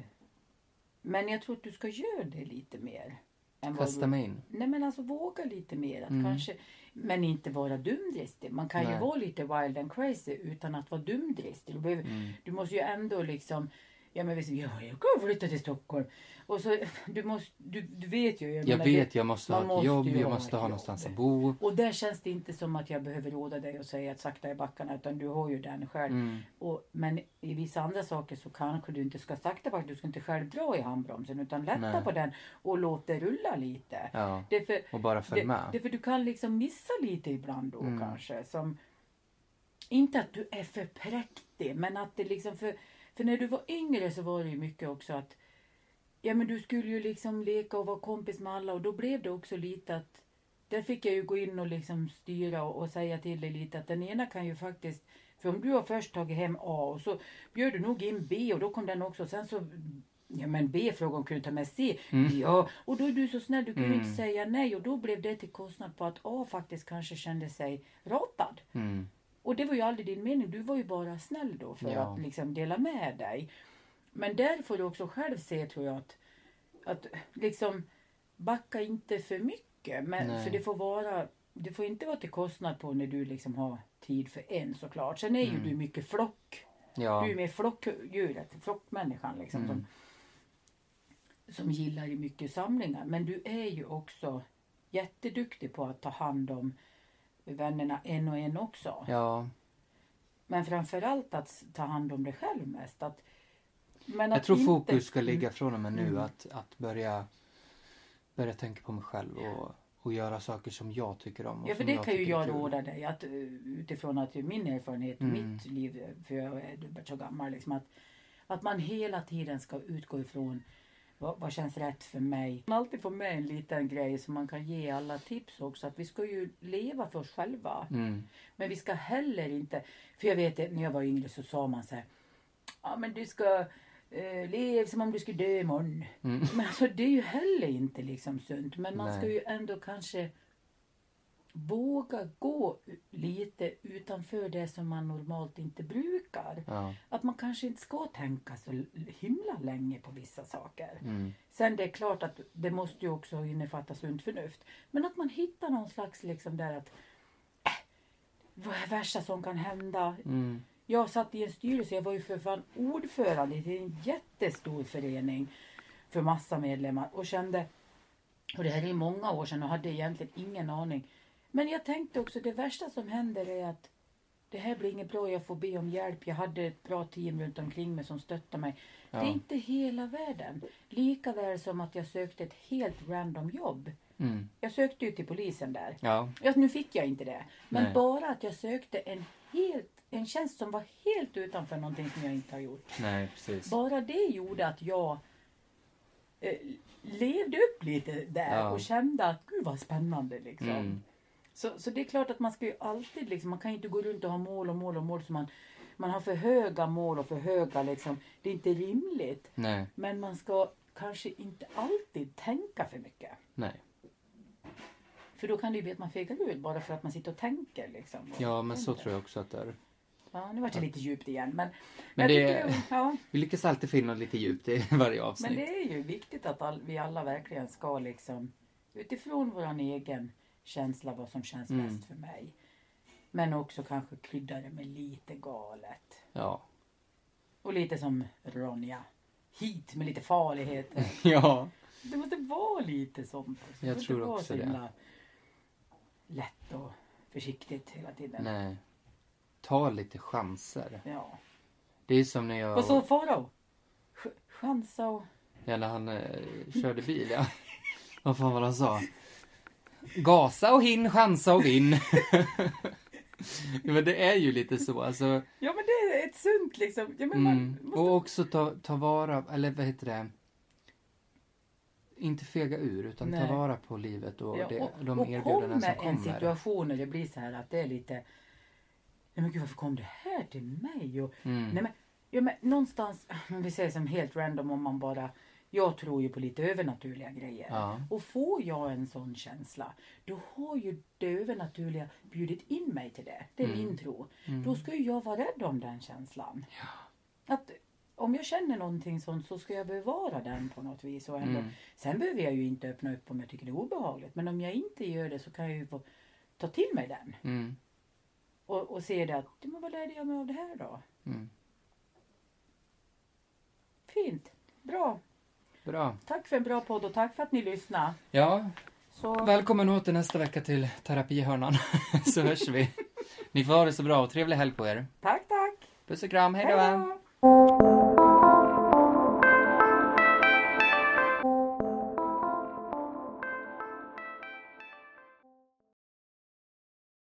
Speaker 1: men jag tror att du ska göra det lite mer. Än vad du
Speaker 2: Kasta mig in.
Speaker 1: Nej men alltså våga lite mer. Att
Speaker 2: Mm.
Speaker 1: kanske, men inte vara dumdristig. Man kan ju
Speaker 2: Nej.
Speaker 1: vara lite wild and crazy utan att vara dumdristig. Du, behöver,
Speaker 2: Mm.
Speaker 1: du måste ju ändå liksom Ja men visst, ja, jag kan flytta till Stockholm. Och så, du, måste, du, du vet ju.
Speaker 2: Jag
Speaker 1: menar,
Speaker 2: vet, jag måste
Speaker 1: man
Speaker 2: ha ett
Speaker 1: måste
Speaker 2: jobb,
Speaker 1: ju
Speaker 2: jag
Speaker 1: ha
Speaker 2: måste
Speaker 1: ett
Speaker 2: ha
Speaker 1: jobb.
Speaker 2: någonstans att bo.
Speaker 1: det, och där känns det inte som att jag behöver råda dig och säga att sakta i backarna. Utan du har ju den själv.
Speaker 2: Mm.
Speaker 1: Och, men i vissa andra saker så kanske du inte ska sakta backa. Du ska inte själv dra i handbromsen. Utan lätta
Speaker 2: Nej.
Speaker 1: på den och låt det rulla lite.
Speaker 2: Ja,
Speaker 1: Det är för,
Speaker 2: och bara följ
Speaker 1: det, det
Speaker 2: med.
Speaker 1: för du kan liksom missa lite ibland då
Speaker 2: Mm.
Speaker 1: kanske. Som, inte att du är för präktig men att det liksom för, för när du var yngre så var det ju mycket också att ja men du skulle ju liksom leka och vara kompis med alla och då blev det också lite att där fick jag ju gå in och liksom styra och, och säga till dig lite att den ena kan ju faktiskt för om du har först tagit hem A och så bjöd du nog in B och då kom den också och sen så Ja men B frågade om kunde ta med C. Ja, och då är du så snäll, du kunde ju
Speaker 2: Mm.
Speaker 1: inte säga nej och då blev det till kostnad på att A faktiskt kanske kände sig ratad.
Speaker 2: Mm.
Speaker 1: Och det var ju aldrig din mening. Du var ju bara snäll då för
Speaker 2: Ja.
Speaker 1: att liksom dela med dig. Men där får du också själv se tror jag att, att liksom backa inte för mycket. Men,
Speaker 2: Nej.
Speaker 1: för det får vara, det får inte vara till kostnad på när du liksom har tid för en såklart. Sen är ju
Speaker 2: Mm.
Speaker 1: du mycket flock.
Speaker 2: Ja,
Speaker 1: Du är ju mer flockdjuret, flockmänniskan liksom.
Speaker 2: Mm.
Speaker 1: Som, som gillar ju mycket samlingar. Men du är ju också jätteduktig på att ta hand om vännerna en och en också.
Speaker 2: ja.
Speaker 1: Men framförallt att ta hand om dig själv mest. Att, men
Speaker 2: Jag
Speaker 1: att
Speaker 2: tror
Speaker 1: inte-
Speaker 2: fokus ska ligga från och med nu
Speaker 1: Mm.
Speaker 2: att, att börja, börja tänka på mig själv och, och göra saker som jag tycker om. Och
Speaker 1: Ja, för
Speaker 2: som
Speaker 1: det kan ju
Speaker 2: tycker är
Speaker 1: jag
Speaker 2: kul.
Speaker 1: råda dig att, eh, utifrån att det är min erfarenhet och
Speaker 2: Mm.
Speaker 1: mitt liv, för jag är dubbelt så gammal, liksom, att, att man hela tiden ska utgå ifrån vad, vad känns rätt för mig. Man alltid får med en liten grej som man kan ge alla tips också, att vi ska ju leva för oss själva.
Speaker 2: Mm.
Speaker 1: Men vi ska heller inte, för jag vet att när jag var yngre så sa man så här, ja men du ska eh, leva som om du skulle dö imorgon.
Speaker 2: Mm.
Speaker 1: Men alltså det är ju heller inte liksom sunt. Men man ska
Speaker 2: Nej.
Speaker 1: ju ändå kanske våga gå lite utanför det som man normalt inte brukar.
Speaker 2: Ja.
Speaker 1: Att man kanske inte ska tänka så himla länge på vissa saker.
Speaker 2: Mm.
Speaker 1: Sen det är klart att det måste ju också innefatta sunt förnuft. Men att man hittar någon slags liksom där att äh, vad är det värsta som kan hända?
Speaker 2: Mm.
Speaker 1: Jag satt i en styrelse, jag var ju för fan ordförande i en jättestor förening för massa medlemmar och kände, och det här är många år sedan och hade egentligen ingen aning. Men jag tänkte också det värsta som händer är att det här blir inget bra, jag får be om hjälp. Jag hade ett bra team runt omkring mig som stöttade mig. Det
Speaker 2: Ja.
Speaker 1: är inte hela världen. Lika väl som att jag sökte ett helt random jobb.
Speaker 2: Mm.
Speaker 1: Jag sökte ju till polisen där.
Speaker 2: Ja.
Speaker 1: Ja, nu fick jag inte det. Men
Speaker 2: Nej.
Speaker 1: bara att jag sökte en, helt, en tjänst som var helt utanför någonting som jag inte har gjort.
Speaker 2: Nej, precis.
Speaker 1: Bara det gjorde att jag eh, levde upp lite där
Speaker 2: Ja.
Speaker 1: och kände att gud vad spännande liksom.
Speaker 2: Mm.
Speaker 1: Så, så det är klart att man ska ju alltid liksom, man kan ju inte gå runt och ha mål och mål och mål som man, man har för höga mål och för höga liksom. Det är inte rimligt.
Speaker 2: Nej.
Speaker 1: Men man ska kanske inte alltid tänka för mycket.
Speaker 2: Nej.
Speaker 1: För då kan det ju bli att man fegar ur bara för att man sitter och tänker. Liksom, och
Speaker 2: Ja, men så
Speaker 1: tänker.
Speaker 2: tror jag också att det är.
Speaker 1: Ja, nu vart det lite djupt igen. Men, jag
Speaker 2: Men det-
Speaker 1: tycker, ja,
Speaker 2: Vi lyckas alltid finna lite djupt i varje
Speaker 1: men
Speaker 2: avsnitt.
Speaker 1: det är ju viktigt att all, vi alla verkligen ska liksom utifrån våran egen känsla vad som känns
Speaker 2: Mm.
Speaker 1: bäst för mig. Men också kanske krydda det med lite galet.
Speaker 2: Ja.
Speaker 1: Och lite som Ronja. Hit med lite farligheter.
Speaker 2: ja.
Speaker 1: Det måste vara lite sånt. också.
Speaker 2: Jag
Speaker 1: måste
Speaker 2: tror
Speaker 1: vara
Speaker 2: också
Speaker 1: så
Speaker 2: det.
Speaker 1: himla Lätt och försiktigt hela tiden.
Speaker 2: Nej. Ta lite chanser.
Speaker 1: Ja.
Speaker 2: Det är som när
Speaker 1: Vad
Speaker 2: jag...
Speaker 1: sa Farao? Ch- Chansa och...
Speaker 2: Ja, när han eh, körde bil, ja. Vad fan var det han sa? Gasa och hin, chansa och vinn. ja, men det är ju lite så. Alltså,
Speaker 1: Ja men det är ett sunt liksom. Ja, men
Speaker 2: mm.
Speaker 1: man måste...
Speaker 2: Och också ta, ta vara, eller vad heter det? Inte fega ur, utan
Speaker 1: Nej.
Speaker 2: ta vara på livet och,
Speaker 1: Ja,
Speaker 2: det,
Speaker 1: och-
Speaker 2: de
Speaker 1: och
Speaker 2: erbjudanden som
Speaker 1: en
Speaker 2: kommer.
Speaker 1: situation när det blir så här att det är lite... Nej men gud varför kom det här till mig? Och,
Speaker 2: Mm.
Speaker 1: Nej men, ja, men någonstans, men vi säger som helt random om man bara... Jag tror ju på lite övernaturliga grejer.
Speaker 2: Ja.
Speaker 1: Och får jag en sån känsla, då har ju det övernaturliga bjudit in mig till det. Det är
Speaker 2: Mm.
Speaker 1: min tro. Då ska ju jag vara rädd om den känslan. Att om jag känner någonting sånt så ska jag bevara den på något vis. Och ändå.
Speaker 2: Mm.
Speaker 1: Sen behöver jag ju inte öppna upp om jag tycker det är obehagligt. Men om jag inte gör det så kan jag ju få ta till mig den.
Speaker 2: Mm.
Speaker 1: Och, och se det att, men vad lärde jag mig av det här då?
Speaker 2: Mm.
Speaker 1: Fint. Bra.
Speaker 2: Bra.
Speaker 1: Tack för en bra podd och tack för att ni lyssnade.
Speaker 2: Ja,
Speaker 1: Så...
Speaker 2: välkommen åter nästa vecka till terapihörnan. så hörs vi. Ni får ha det så bra och trevlig helg på er.
Speaker 1: Tack, tack.
Speaker 2: Puss och kram, hej då!
Speaker 1: Hej då.